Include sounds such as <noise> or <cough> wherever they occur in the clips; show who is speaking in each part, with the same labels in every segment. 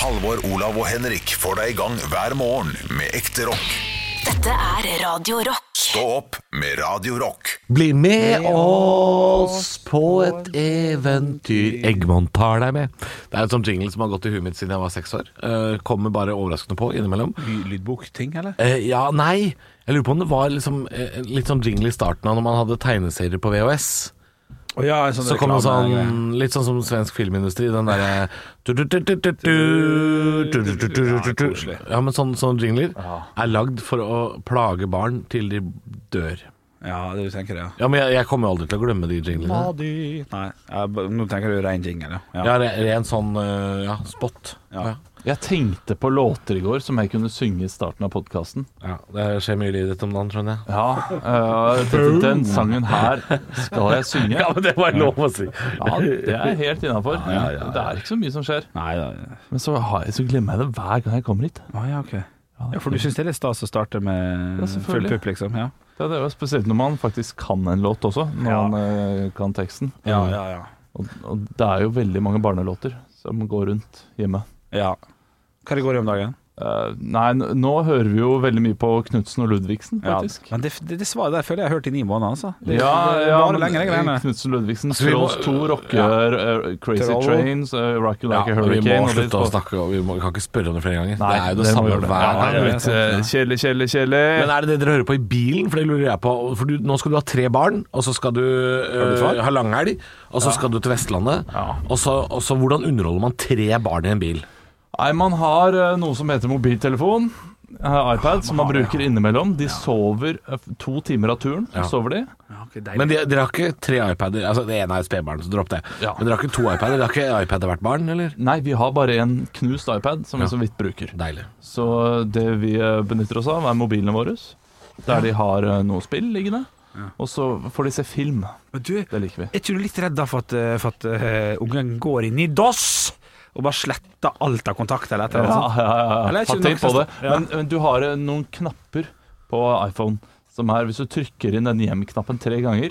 Speaker 1: Halvor, Olav og Henrik får deg i gang hver morgen med ekte rock.
Speaker 2: Dette er Radio Rock.
Speaker 1: Stå opp med Radio Rock.
Speaker 3: Bli med oss på et eventyr. Eggman tar deg med. Det er en sånn jingle som har gått i huet mitt siden jeg var seks år. Eh, kommer bare overraskende på innimellom.
Speaker 4: Ly- lydbokting, eller?
Speaker 3: Eh, ja, nei. Jeg lurer på om det var liksom, eh, litt sånn jingle i starten av når man hadde tegneserier på VHS.
Speaker 4: Oh, ja, en sånn
Speaker 3: Så kom det
Speaker 4: reklame-
Speaker 3: sånn Litt sånn som svensk filmindustri, den <laughs> derre du-du-du-du-du, Ja, men sånn- sånne jingler er lagd for å plage barn til de dør.
Speaker 4: Ja, det du tenker det, ja.
Speaker 3: Ja, men jeg, jeg kommer jo aldri til å glemme de jinglene.
Speaker 4: Nei, ja, b- nå tenker du rein jingle, ja.
Speaker 3: Ja, re- ren sånn eh, ja, spot.
Speaker 4: Ja.
Speaker 3: Ja.
Speaker 5: Jeg tenkte på låter i går som jeg kunne synge i starten av podkasten.
Speaker 3: ja. Det skjer mye liv i dette om dagen, skjønner jeg.
Speaker 5: Ja, øh, den, den sangen her skal jeg synge. Ja,
Speaker 3: men det var lov å si.
Speaker 5: det er helt innafor. Det er ikke så mye som skjer.
Speaker 4: Nei, da.
Speaker 5: Men så, har jeg, så glemmer jeg det hver gang jeg kommer hit.
Speaker 4: Å, ja, ok. Ja, for du syns det er litt stas å starte med
Speaker 5: Ja,
Speaker 4: full
Speaker 5: selvfølgelig.
Speaker 4: pupp, liksom? Ja.
Speaker 5: Ja, det er jo Spesielt når man faktisk kan en låt også, når
Speaker 4: Ja.
Speaker 5: man øh, kan teksten.
Speaker 4: Ja, ja, ja.
Speaker 5: Og, og det er jo veldig mange barnelåter som går rundt hjemme.
Speaker 4: ja. Hva det går i om dagen?
Speaker 5: Eh, nei, n- nå hører vi jo veldig mye på Knutsen og Ludvigsen,
Speaker 4: Ja.
Speaker 5: faktisk.
Speaker 4: Men det, det, det svaret der føler jeg jeg har hørt i ni måneder, altså. Det,
Speaker 5: Ja,
Speaker 4: det, det
Speaker 5: ja
Speaker 4: varer lenger, de greiene.
Speaker 5: Knutsen Ludvigsen,
Speaker 3: vi må-
Speaker 5: Trolls 2, Rocke, eh, Crazy
Speaker 4: Trolls.
Speaker 5: Trains, eh, Rock You
Speaker 3: Ja,
Speaker 5: Like a
Speaker 3: vi
Speaker 5: Hurricane
Speaker 3: må
Speaker 5: og de-
Speaker 3: slutte å snakke om Vi må, kan ikke spørre om det flere ganger. det
Speaker 5: Nei,
Speaker 3: er jo det,
Speaker 5: må
Speaker 3: samme
Speaker 5: gjøre
Speaker 3: hver
Speaker 5: det.
Speaker 3: gang.
Speaker 5: Ja, jeg vet, eh, Kjelle, kjelle, kjelle.
Speaker 3: Men er det det dere hører på i bilen? For det lurer jeg på. For du, nå skal du ha tre barn, og så skal du eh,
Speaker 4: far?
Speaker 3: ha langhelg, og så skal du til Vestlandet. Og, så, og så hvordan underholder man tre barn i en bil?
Speaker 5: Nei, man har eh, noe som heter mobiltelefon, eh, iPad, som man bruker innimellom. De sover eh, f- to timer av turen.
Speaker 3: Ja.
Speaker 5: sover de.
Speaker 4: Ja, ok, deilig.
Speaker 3: Men de, dere har ikke tre iPader? Altså, det ene er et spedbarn, så dropp det.
Speaker 5: Ja.
Speaker 3: Men dere har ikke to iPader? Dere har ikke iPad til hvert barn, eller?
Speaker 5: Nei, vi har bare en knust iPad som vi
Speaker 3: Ja.
Speaker 5: så vidt bruker.
Speaker 3: Deilig.
Speaker 5: Så det vi eh, benytter oss av, er mobilene våre, der de har eh, noe spill liggende. Og så får de se film.
Speaker 4: Men du,
Speaker 5: Det liker vi.
Speaker 4: er ikke du litt redd da for at, eh, for at eh, ungen går inn i DOS og bare sletter alt av kontakt eller et eller annet?
Speaker 5: Ja, ja, ja,
Speaker 4: Eller
Speaker 5: ja.
Speaker 4: er ikke
Speaker 5: Patent
Speaker 4: det nok-
Speaker 5: på det. Men, men du har eh, noen knapper på iPhone som er Hvis du trykker inn den hjem-knappen tre ganger,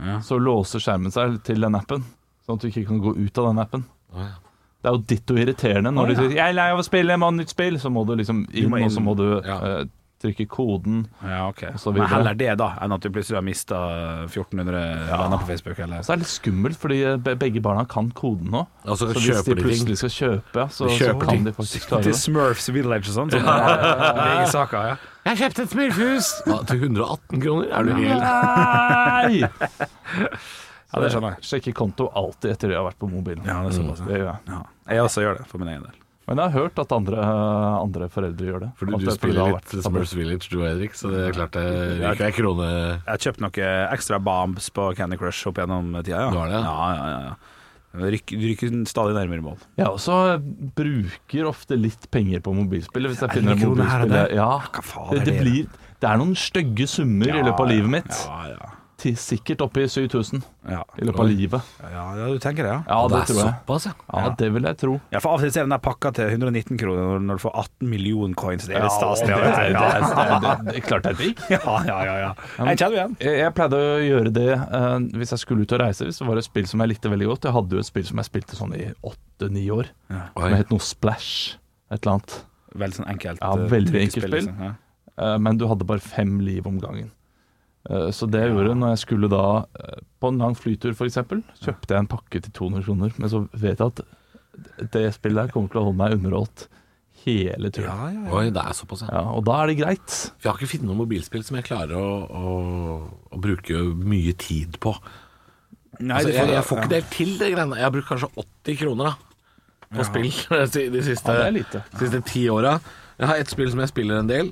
Speaker 4: Ja.
Speaker 5: så låser skjermen seg til den appen. Sånn at du ikke kan gå ut av den appen. Det er jo ditto irriterende
Speaker 4: Å,
Speaker 5: når
Speaker 4: ja.
Speaker 5: de sier 'jeg er lei av å spille, jeg må ha nytt spill', så må du liksom inn,
Speaker 4: må
Speaker 5: og så
Speaker 4: inn.
Speaker 5: må du
Speaker 3: Ja.
Speaker 5: eh, trykke koden.
Speaker 4: Ja, ok.
Speaker 5: så
Speaker 4: Men
Speaker 5: videre.
Speaker 4: heller det da, enn at du plutselig har mista 1400 venner på Facebook. Eller.
Speaker 5: Så er det litt skummelt, fordi eh, be- begge barna kan koden nå.
Speaker 3: Og så
Speaker 5: Så hvis de
Speaker 3: kjøper de ting.
Speaker 5: plutselig skal kjøpe, ja, så,
Speaker 3: De
Speaker 5: så
Speaker 3: kjøper ting.
Speaker 5: kan de faktisk klare
Speaker 4: Til
Speaker 5: det.
Speaker 4: Smurfs Village og sånn. sånn. Begge saker, ja.
Speaker 3: Jeg kjøpte et smurfhus! Ja, til 118 kroner? Er du helt
Speaker 5: Nei! <laughs>
Speaker 4: ja, det skjønner jeg.
Speaker 5: Sjekke konto alltid etter det jeg har vært på mobilen.
Speaker 4: Ja, det er såpass, ja.
Speaker 5: Det gjør jeg.
Speaker 4: Ja. Jeg også gjør det, for min egen del.
Speaker 5: Men jeg har hørt at andre, andre foreldre gjør det.
Speaker 3: Fordi
Speaker 5: At
Speaker 3: du
Speaker 5: det- det har
Speaker 3: spiller litt
Speaker 5: vært sammen.
Speaker 3: Smurfs Village, du og Henrik, så det er klart det ryker ei krone
Speaker 4: Jeg har kjøpt noen ekstra bombs på Candy Crush opp gjennom tida. Ja.
Speaker 3: Du har det, ja.
Speaker 4: Ja, ja, ja, ja. Det Rykker, det rykker stadig nærmere mål.
Speaker 5: Jeg også bruker ofte litt penger på mobilspillet hvis jeg
Speaker 4: det
Speaker 5: finner en
Speaker 4: en krone her og
Speaker 5: mobilspill.
Speaker 4: der?
Speaker 5: Ja,
Speaker 4: Hva faen er
Speaker 5: det, det,
Speaker 4: det?
Speaker 5: blir, det er noen stygge summer i løpet av livet mitt.
Speaker 4: Ja, ja.
Speaker 5: Til sikkert oppi 7000
Speaker 4: Ja,
Speaker 5: i løpet av livet.
Speaker 4: ja, ja du tenker det, ja.
Speaker 5: Ja,
Speaker 3: Det
Speaker 5: det
Speaker 3: er
Speaker 5: tror jeg.
Speaker 3: såpass, ja.
Speaker 5: Ja, det vil jeg tro.
Speaker 4: Ja, for Av og til så er den der pakka til 119 kroner når, når du får 18 million coins. Det er litt stas.
Speaker 5: det,
Speaker 4: det,
Speaker 5: det,
Speaker 4: vet du. Ja.
Speaker 5: det, det, det, klart det er digg.
Speaker 4: Ja, ja, ja, ja. Jeg kjenner igjen.
Speaker 5: Jeg, jeg pleide å gjøre det eh, hvis jeg skulle ut og reise. Hvis det var et spill som jeg likte veldig godt. Jeg hadde jo et spill som jeg spilte sånn i åtte-ni år.
Speaker 3: Oi.
Speaker 5: Som het noe Splash. Et eller annet.
Speaker 4: Veldig sånn enkelt.
Speaker 5: Ja,
Speaker 4: eh,
Speaker 5: veldig
Speaker 4: trykkespill,
Speaker 5: enkelt spill.
Speaker 4: liksom. Ja.
Speaker 5: Eh, men du hadde bare fem liv om gangen. Eh, Så det jeg gjorde når jeg skulle da eh, på en lang flytur f.eks., kjøpte jeg en pakke til 200 kroner. Men så vet jeg at det spillet der kommer til å holde meg underholdt hele turen.
Speaker 4: ja, ja.
Speaker 3: Oi, det er såpass, ja.
Speaker 5: Ja, og da er det greit.
Speaker 3: For jeg har ikke funnet noe mobilspill som jeg klarer å, å, å bruke mye tid på.
Speaker 4: Nei,
Speaker 3: Altså,
Speaker 4: du
Speaker 3: jeg, jeg
Speaker 4: det.
Speaker 3: får ikke det til, det greiene. Jeg har brukt kanskje 80 kroner da på spill <laughs> de- de siste,
Speaker 5: Ja, det er lite.
Speaker 3: siste ti åra. Jeg har ett spill som jeg spiller en del.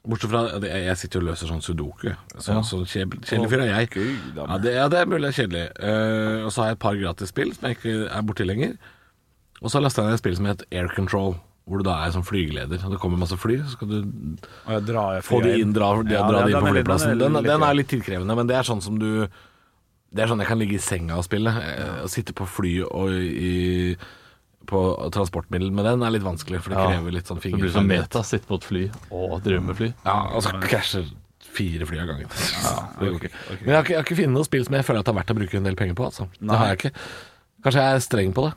Speaker 3: Bortsett fra jeg- Jeg sitter jo og løser sånn sudoku. Så,
Speaker 5: Ja.
Speaker 3: så kjedel- kjedelig fyr er jeg.
Speaker 4: Gud,
Speaker 3: Ja det, ja, det er mulig det er kjedelig. Eh, og så har jeg et par gratisspill som jeg ikke er borti lenger. Og så lasta jeg ned et spill som het Air Control, hvor du da er som flygeleder. Og det kommer masse fly, så skal du
Speaker 4: Og jeg drar jeg
Speaker 3: få de inn, dra, de,
Speaker 4: Ja,
Speaker 3: dra
Speaker 4: den-
Speaker 3: de inn
Speaker 4: den
Speaker 3: på
Speaker 4: er litt-
Speaker 3: flyplassen.
Speaker 4: den er
Speaker 3: Den,
Speaker 4: litt-
Speaker 3: den er litt tidkrevende, men det er sånn som du Det er sånn jeg kan ligge i senga og spille. eh, Å sitte på fly og i på transportmiddel med den er litt vanskelig, for det
Speaker 5: Ja.
Speaker 3: krever litt sånn
Speaker 5: Det blir
Speaker 3: fingerferdighet.
Speaker 5: som meta, sitte på et fly og drive med fly.
Speaker 3: Ja, og så krasjer fire fly av <laughs> gangen. Det går ikke. Men jeg har ikke, jeg har ikke funnet noe spill som jeg føler at det er verdt å bruke en del penger på. Altså. Det har jeg ikke. Kanskje jeg er streng på det.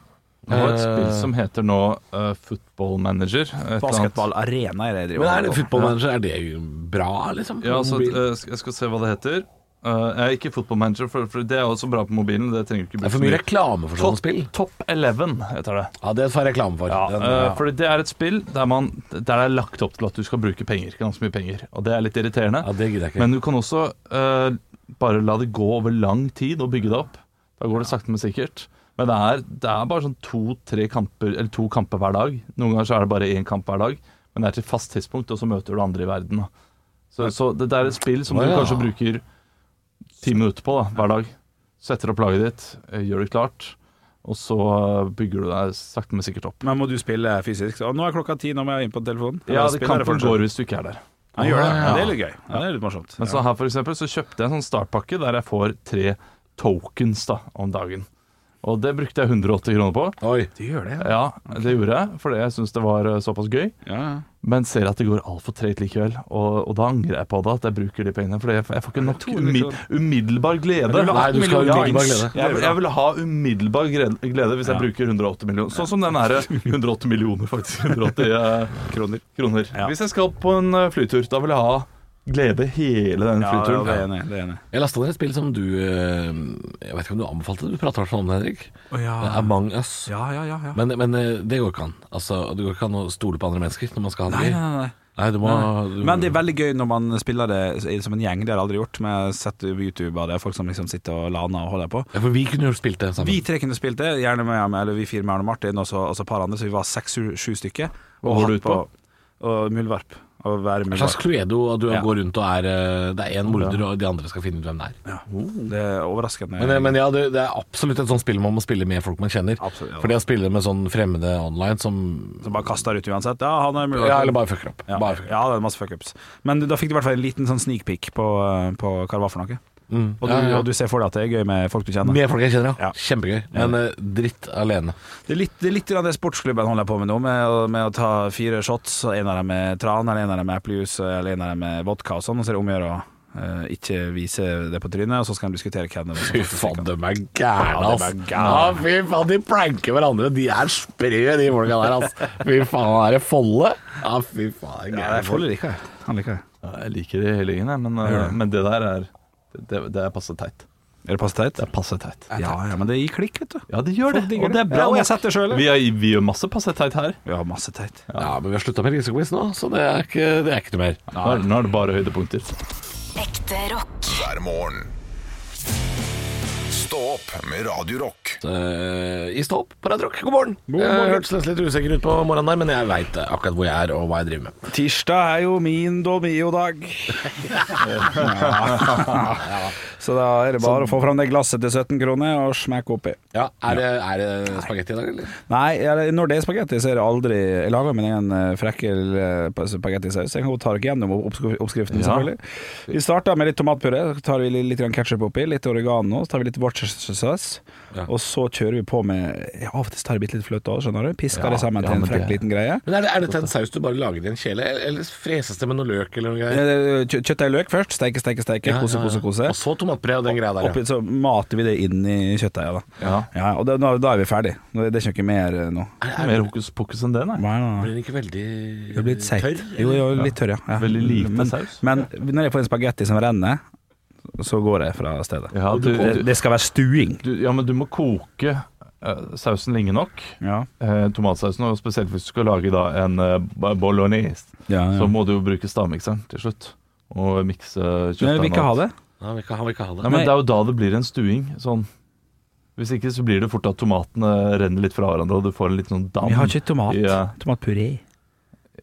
Speaker 5: Det var et
Speaker 3: Eh,
Speaker 5: spill som heter nå eh, Football Manager. et eller annet.
Speaker 4: Basketballarena er det jeg driver
Speaker 3: Men er det
Speaker 4: med.
Speaker 3: Football Manager, er det jo bra, liksom?
Speaker 5: Ja, altså,
Speaker 3: Mobil?
Speaker 5: eh, sk- jeg skal se hva det heter. Eh, jeg er ikke Football Manager, for, for det er også bra på mobilen. Det trenger du ikke
Speaker 3: det
Speaker 5: bruke
Speaker 3: er for mye reklame for sånne spill.
Speaker 5: Top 11 heter det.
Speaker 3: Ja, det får jeg reklame for.
Speaker 5: Ja,
Speaker 3: Den,
Speaker 5: eh, Fordi det er et spill der, man, der det er lagt opp til at du skal bruke penger. Ganske mye penger. Og det er litt irriterende.
Speaker 3: ja, det gidder jeg ikke.
Speaker 5: Men du kan også eh, bare la det gå over lang tid og bygge det opp. Da går det sakte, men sikkert. Men det er, det er bare sånn to-tre kamper Eller to kamper hver dag. Noen ganger så er det bare én kamp hver dag, men det er til fast tidspunkt, og så møter du andre i verden. Da. Så, så det, det er et spill som
Speaker 3: Å,
Speaker 5: du
Speaker 3: ja.
Speaker 5: kanskje bruker ti minutter på da, hver dag. Setter opp laget ditt, eh, gjør det klart, og så eh, bygger du deg sakte, men sikkert opp.
Speaker 4: Men må du spille fysisk? Så, nå er klokka ti, nå må jeg inn på telefonen.
Speaker 5: Ja,
Speaker 4: Eller
Speaker 5: det,
Speaker 4: spiller jeg
Speaker 5: Kampen
Speaker 4: fortsatt?
Speaker 5: går hvis du ikke er der.
Speaker 4: Ja, gjør det.
Speaker 3: Ah, ja.
Speaker 4: Ja, det er litt gøy. Ja, det er litt morsomt.
Speaker 5: Men
Speaker 4: Ja.
Speaker 5: så her for eksempel så kjøpte jeg en sånn startpakke der jeg får tre tokens da, om dagen. Og det brukte jeg 180 kroner på.
Speaker 3: Oi.
Speaker 4: Du gjør det, ja.
Speaker 5: Ja, det gjorde jeg, fordi jeg syns det var eh, såpass gøy.
Speaker 4: ja. ja.
Speaker 5: Men ser at det går altfor tregt likevel. Og, og da angrer jeg på det, at jeg bruker de pengene. For jeg, jeg får ikke nok
Speaker 4: 200
Speaker 5: umi, umiddelbar glede.
Speaker 3: Nei, du skal ha umiddelbar glede.
Speaker 5: Jeg, jeg vil ha umiddelbar gre- glede hvis jeg
Speaker 4: Ja.
Speaker 5: bruker 108 millioner. Sånn som den her 108 millioner, faktisk. 180 eh, kroner.
Speaker 4: Ja.
Speaker 5: Hvis jeg skal på en eh, flytur, da vil jeg ha glede hele den
Speaker 4: Ja, ja,
Speaker 5: flyturen.
Speaker 4: det er enig. Det er enig.
Speaker 3: Jeg lasta ned et spill som du eh, Jeg vet ikke om du anbefalte det, du prater i hvert fall om det, Henrik. Det er Among us.
Speaker 4: Ah. Ja, ja, ja. ja.
Speaker 3: Men, men eh, det går ikke an. Altså, det går ikke an å stole på andre mennesker når man skal ha
Speaker 4: Nei,
Speaker 3: det
Speaker 4: nei,
Speaker 3: gøy.
Speaker 4: nei. nei.
Speaker 3: Nei, du må du-
Speaker 4: Men det er veldig gøy når man spiller det som en gjeng. Det har jeg aldri gjort. Men jeg har sett på YouTube av det, folk som liksom sitter og laner og holder på.
Speaker 3: ja, For vi kunne jo spilt det sammen.
Speaker 4: Vi tre kunne spilt det, gjerne med eller vi fire med Arne Martin og så- og så et par andre, så vi var seks-sju stykker.
Speaker 5: Hva går det ut på?
Speaker 4: Og muldvarp. Å være
Speaker 3: En slags
Speaker 4: muldvarp.
Speaker 3: Cluedo at du
Speaker 4: Ja.
Speaker 3: går rundt og er eh, Det er én morder, og de andre skal finne ut hvem det er.
Speaker 4: Ja. Det er
Speaker 3: Mm.
Speaker 4: overraskende.
Speaker 3: Men, eh, men ja, det, det er absolutt et sånt spill man må spille med folk man kjenner.
Speaker 4: Absolutt, ja.
Speaker 3: For det å spille med sånn fremmede online som
Speaker 4: Som bare kaster ut uansett. Ja, han er muldvarp.
Speaker 3: Ja, eller bare fucker opp.
Speaker 4: Ja.
Speaker 3: Bare fucker opp.
Speaker 4: ja, det er masse fuckups. Men da fikk du i hvert fall en liten sånn sneak peek på, på hva det var for noe.
Speaker 3: Mm.
Speaker 4: Og du,
Speaker 3: Ja, ja.
Speaker 4: og du ser for deg at det er gøy med folk du kjenner.
Speaker 3: Med folk jeg kjenner, ja.
Speaker 4: Ja.
Speaker 3: Kjempegøy. Men eh, dritt alene.
Speaker 4: Det er litt, det, er litt grann det sportsklubben holder på med nå, med, å- med å ta fire shots. og En av dem med tran, eller en av dem med eplejus, eller en av dem med vodka og sånn. Og så er det om å gjøre å eh, ikke vise det på trynet, og så skal de diskutere hvem det var som
Speaker 3: Fy
Speaker 4: faktisk fikk
Speaker 3: faen,
Speaker 4: den.
Speaker 3: de er gærne,
Speaker 4: Ja, de er
Speaker 3: ass. Ja,
Speaker 4: gærne.
Speaker 3: fy faen, de pranker hverandre. De er sprø, de folka der, ass. Fy faen, er det Folle? Ja, fy faen.
Speaker 4: Ja, det er Folle liker jeg. Han liker jeg.
Speaker 5: Ja, jeg liker det hele gjengen, jeg, men, eh, men det der er Det, det er passe teit.
Speaker 4: Er det passe teit?
Speaker 5: Det er passe teit.
Speaker 4: Ja, ja, men det gir klikk, vet du.
Speaker 5: Ja, det gjør det,
Speaker 4: digger
Speaker 5: og det er
Speaker 4: det.
Speaker 5: bra.
Speaker 4: Ja, og jeg
Speaker 5: nå.
Speaker 4: setter det selv, jeg.
Speaker 5: Vi, er, vi gjør masse passe teit her.
Speaker 4: Vi har masse teit.
Speaker 3: Ja, men vi har slutta med risequiz nå, så det er ikke, det er ikke noe mer.
Speaker 5: Nå er, nå er det bare høydepunkter.
Speaker 2: Ekte rock.
Speaker 1: hver morgen. Stå opp med Radio Rock.
Speaker 3: Eh, I stå opp på Radio Rock. God morgen.
Speaker 4: morgen.
Speaker 3: Jeg hørtes nesten litt usikker ut på morgenen der, men jeg veit akkurat hvor jeg er og hva jeg driver med.
Speaker 4: Tirsdag er jo min Dolmio-dag. Så da er det bare å få fram det glasset til 17 kroner og smekke oppi.
Speaker 3: Ja, Er det, er det spagetti i dag, eller?
Speaker 4: Nei, eller når det er spagetti, så er det aldri Jeg lager min egen eh, frekkel eh, spagettisaus. Jeg kan godt ta dere gjennom oppskri- oppskriften,
Speaker 5: Ja.
Speaker 4: selvfølgelig. Vi starter med litt tomatpuré, så tar vi litt- litt ketsjup oppi, litt oregano, så tar vi litt worcestersaus.
Speaker 3: Ja.
Speaker 4: Og så kjører vi på med ja, Av og til tar jeg bitte litt fløte òg, skjønner du. Pisker
Speaker 5: Ja,
Speaker 4: det sammen
Speaker 5: ja,
Speaker 4: til en
Speaker 5: men
Speaker 4: frekk
Speaker 5: det-
Speaker 4: liten greie.
Speaker 3: Men er, det, er dette en saus du bare lager i en kjele, eller- eller freses det med noe løk eller noe greier?
Speaker 4: Eh, kjø- Kjøttdeig og løk først. Steike, steike, steike.
Speaker 3: Ja,
Speaker 4: Kose,
Speaker 3: ja, ja.
Speaker 4: kose, kose.
Speaker 3: Og så tomatpuré og den greia der, ja.
Speaker 4: Oppi, så mater vi det inn i kjøttdeiga, da.
Speaker 5: Ja.
Speaker 4: Ja, og da, da da er vi ferdig. Nå- Det er ikke noe mer eh, nå.
Speaker 5: Ikke mer hokus pokus enn det, nei.
Speaker 4: Nei, nei, nei.
Speaker 3: Blir den ikke veldig
Speaker 4: Det blir litt seigt. Jo, jo, litt tørr, ja. ja.
Speaker 5: Veldig lite
Speaker 4: men,
Speaker 5: saus.
Speaker 4: Men når jeg får en spagetti som renner, så går jeg fra stedet.
Speaker 5: Ja, du,
Speaker 4: Det,
Speaker 5: du,
Speaker 4: det skal være stuing.
Speaker 5: du, ja, men du må koke eh, sausen lenge nok.
Speaker 4: Ja.
Speaker 5: Eh, tomatsausen, og spesielt hvis du skal lage da, en eh, ba- bolognese,
Speaker 4: Ja, ja.
Speaker 5: så må du jo bruke stavmikseren til slutt. Og mikse kjøttet.
Speaker 4: Men jeg vil ikke ha det.
Speaker 3: Han vil ikke, han vil ikke ha det.
Speaker 5: Nei, men Det er jo da det blir en stuing. Sånn. Hvis ikke så blir det fort at tomatene renner litt fra hverandre, og du får en liten sånn dam.
Speaker 4: Vi har ikke tomat.
Speaker 5: Ja.
Speaker 4: Tomatpuré.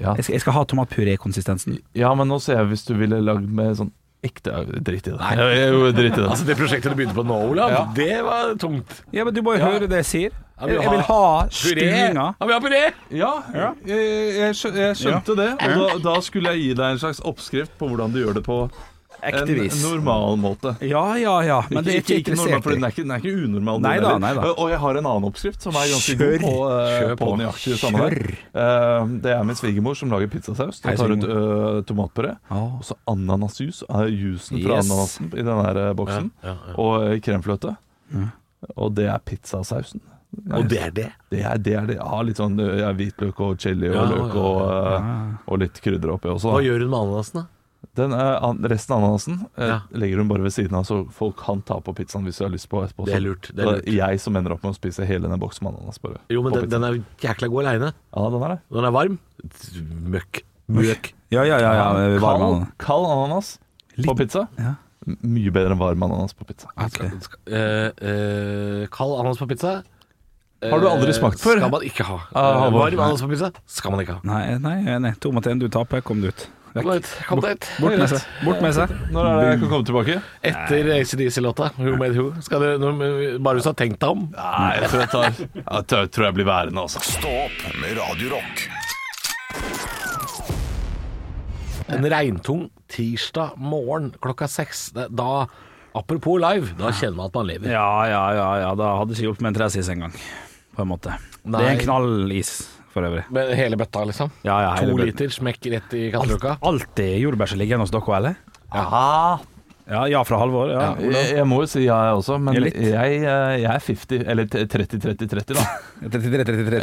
Speaker 5: Ja.
Speaker 4: Jeg skal, jeg skal ha tomatpurékonsistensen.
Speaker 5: ja, men nå ser jeg hvis du ville lagd med sånn ekte ja, Drit i det. Nei. Jo, drit i det.
Speaker 3: Altså Det prosjektet du begynte på nå, Olav, det var tungt.
Speaker 4: Ja, men du må jo høre det jeg sier.
Speaker 3: Jeg
Speaker 4: Jeg
Speaker 3: vil
Speaker 4: jeg vil ha stuinga.
Speaker 3: Ja, vi har puré!
Speaker 5: Ja, jeg, jeg skjø- jeg skjønte det. Og da, da skulle jeg gi deg en slags oppskrift på hvordan du gjør det på en
Speaker 4: Ekte vis.
Speaker 5: normal måte.
Speaker 4: Ja, ja, ja. Men det er ikke
Speaker 5: normal,
Speaker 4: interessert
Speaker 5: for
Speaker 4: i.
Speaker 5: den er ikke, den er ikke unormal. den
Speaker 4: Neida,
Speaker 5: heller.
Speaker 4: neida.
Speaker 5: Og- Og jeg har en annen oppskrift som er ganske
Speaker 4: Kjør.
Speaker 5: god på, eh,
Speaker 3: Kjør
Speaker 5: på.
Speaker 3: på.
Speaker 5: nøyaktig det samme. Eh, det er min svigermor som lager pizzasaus.
Speaker 4: Hei,
Speaker 5: Da tar ut
Speaker 4: svigermor.
Speaker 5: eh, tomatpuré,
Speaker 4: Ah.
Speaker 5: og så ananasjus. Uh, jusen fra
Speaker 4: Yes.
Speaker 5: ananasen i den her eh, boksen.
Speaker 3: Ja, ja, ja.
Speaker 5: Og eh, kremfløte. Og det er pizzasausen. Nei,
Speaker 3: Og det er det.
Speaker 5: det er det. Er det. Ja, litt sånn ø, ja, hvitløk og chili og
Speaker 3: Ja,
Speaker 5: løk
Speaker 3: ja,
Speaker 5: og, ø, og litt krydder oppi også.
Speaker 3: Hva
Speaker 5: Da.
Speaker 3: gjør hun med ananasen, da?
Speaker 5: Den, ø, an- resten av ananasen ø,
Speaker 3: Ja.
Speaker 5: legger hun bare ved siden av, så folk kan ta på pizzaen hvis de har lyst på etterpå.
Speaker 3: Det er
Speaker 5: Så-
Speaker 3: lurt, det er
Speaker 5: så det jeg som ender opp med å spise hele denne boksen med ananas. Bare.
Speaker 3: Jo, men
Speaker 5: på
Speaker 3: den,
Speaker 5: pizzaen.
Speaker 3: den er jækla god aleine.
Speaker 5: Ja, den er det.
Speaker 3: Når den er varm Møkk. Møkk.
Speaker 4: Ja, ja, ja. ja varm ananas.
Speaker 5: Kald, kald ananas på pizza.
Speaker 4: Ja.
Speaker 5: M- Mye bedre enn varm ananas på pizza.
Speaker 4: Ok.
Speaker 3: Eh, eh, kald ananas på pizza eh,
Speaker 5: Har du aldri smakt før?
Speaker 3: Skal man ikke ha.
Speaker 5: Ah,
Speaker 3: Eh,
Speaker 5: Halvor.
Speaker 3: varm ananas på pizza skal man ikke ha.
Speaker 4: Nei, nei, jeg er enig. To mot én, du taper. Kom deg ut. Vekk.
Speaker 3: Kom deg ut, kom deg ut.
Speaker 4: Bort med seg. Bort med seg.
Speaker 5: Når er det Eh, jeg kan komme tilbake?
Speaker 3: Etter ACDC-låta 'Who Made Who'. Skal du, når- bare hvis du har tenkt deg om.
Speaker 5: Nei, jeg tror jeg tar <laughs> Jeg tror- tror jeg blir værende, altså.
Speaker 1: Stå opp med Radio Rock.
Speaker 3: En regntung tirsdag morgen klokka seks. Det- Da, apropos live, da kjenner man at man lever.
Speaker 4: Ja, ja, ja. ja. Da hadde ikke hjulpet med en tresis engang, på en måte. Det er
Speaker 3: Nei.
Speaker 4: en knallis, for øvrig.
Speaker 3: Med hele bøtta, liksom.
Speaker 4: Ja, ja, hele
Speaker 3: to
Speaker 4: bøtta.
Speaker 3: liter smekk rett i katteluka.
Speaker 4: Alltid jordbær som ligger igjen hos dere, eller?
Speaker 5: Ja,
Speaker 4: Ja, ja fra Halvor. Ja.
Speaker 5: jeg, jeg må jo si ja, jeg også, men
Speaker 4: Ja,
Speaker 5: jeg,
Speaker 4: litt.
Speaker 5: eh, jeg er 50 Eller 30-30-30, da. Ja,
Speaker 4: 33-33-33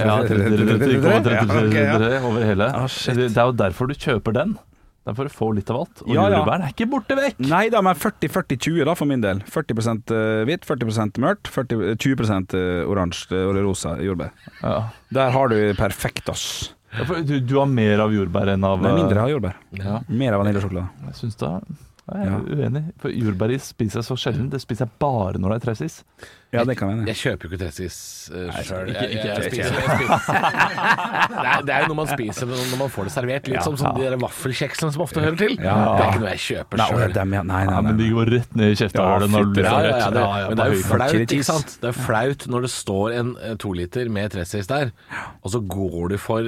Speaker 5: 33,33 over hele.
Speaker 4: Ah, shit.
Speaker 5: Det det er jo derfor du kjøper den. Det er for å få litt av alt. Og
Speaker 4: Ja, ja.
Speaker 5: jordbæren er ikke borte vekk.
Speaker 4: Nei da, men 40-40-20 da, for min del. 40 hvitt, 40 mørkt, 40, 20 eh, oransje og rosa jordbær.
Speaker 5: Ja.
Speaker 4: Der har du perfekt, ass.
Speaker 5: Ja, for Du, du har mer av jordbær enn av
Speaker 4: Nei,
Speaker 5: eh,
Speaker 4: mindre av jordbær.
Speaker 5: Ja.
Speaker 4: Mer av vaniljesjokolade.
Speaker 5: Jeg syns da Nei,
Speaker 4: Ja.
Speaker 5: jeg er uenig. For jordbæris spiser jeg så sjelden. Det spiser jeg bare når det er tresis.
Speaker 4: Ja, det kan jeg.
Speaker 3: Jeg kjøper jo ikke tressis uh, sjøl.
Speaker 5: ikke- ikke jeg
Speaker 3: <laughs> Det er jo noe man spiser når når man får det servert. Litt som, som de der vaffelkjeksene som ofte hører til.
Speaker 4: Ja.
Speaker 3: Det er ikke noe jeg kjøper
Speaker 4: Nei, å, ja,
Speaker 3: sjøl.
Speaker 4: dem, ja. nei,
Speaker 5: Ja,
Speaker 4: nei,
Speaker 5: men
Speaker 4: nei.
Speaker 5: de går rett ned i
Speaker 4: Ja,
Speaker 5: kjeftehullet når du
Speaker 4: fytti
Speaker 3: Ja,
Speaker 5: får
Speaker 3: ja,
Speaker 5: rett.
Speaker 3: ja, det, men det er jo
Speaker 5: bare
Speaker 3: flaut,
Speaker 4: Chili
Speaker 3: ikke
Speaker 4: cheese.
Speaker 3: sant? Det er flaut når det står en eh, to liter med tressis der, og så går du for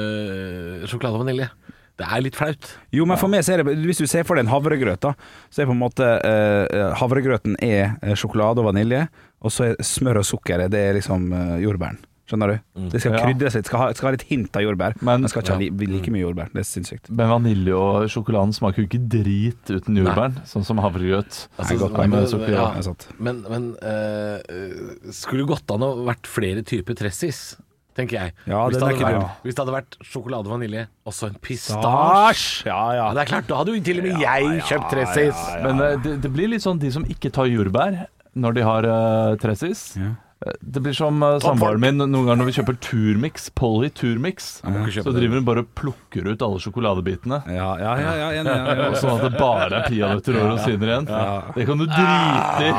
Speaker 3: eh, sjokolade og vanilje. Det er litt flaut.
Speaker 4: Jo, men for meg så er det Hvis du ser for deg en havregrøt, da, så er på en måte eh, Havregrøten er eh, sjokolade og vanilje, og så er smør og sukkeret det er liksom eh, jordbæren. Skjønner du? Det skal
Speaker 5: Ja.
Speaker 4: krydres litt, skal ha, skal ha litt hint av jordbær.
Speaker 5: Men-
Speaker 4: Men, skal ikke ha li, like mye jordbær. Det er sinnssykt.
Speaker 5: Men vanilje og sjokoladen smaker jo ikke drit uten jordbæren, sånn som havregrøt.
Speaker 3: Altså,
Speaker 5: godt
Speaker 3: nei,
Speaker 5: med
Speaker 3: men-
Speaker 5: sukker,
Speaker 3: ja.
Speaker 4: Det er sant.
Speaker 3: Men, men eh, eh, skulle det gått an å vært flere typer tressis, tenker jeg.
Speaker 4: Ja,
Speaker 3: hvis, det
Speaker 4: den er
Speaker 3: hadde
Speaker 4: ikke
Speaker 3: vært,
Speaker 4: dum.
Speaker 3: hvis det hadde vært sjokolade og vanilje, også en pistasje
Speaker 4: Stasj! Ja, ja.
Speaker 3: ja, Det er klart, da hadde jo til og med jeg kjøpt tressis.
Speaker 5: Men eh, det, det blir litt sånn de som ikke tar jordbær når de har eh, tressis. Eh, Det blir som uh, samboeren min noen ganger når vi kjøper turmix, Polly turmix.
Speaker 3: ikke kjøpe
Speaker 5: Så
Speaker 3: det.
Speaker 5: driver hun bare og plukker ut alle sjokoladebitene.
Speaker 4: Ja, ja, ja, ja, enig, ja, ja,
Speaker 5: <laughs> Og Sånn at det bare er peanøtter og rosiner igjen. Det kan du drite i.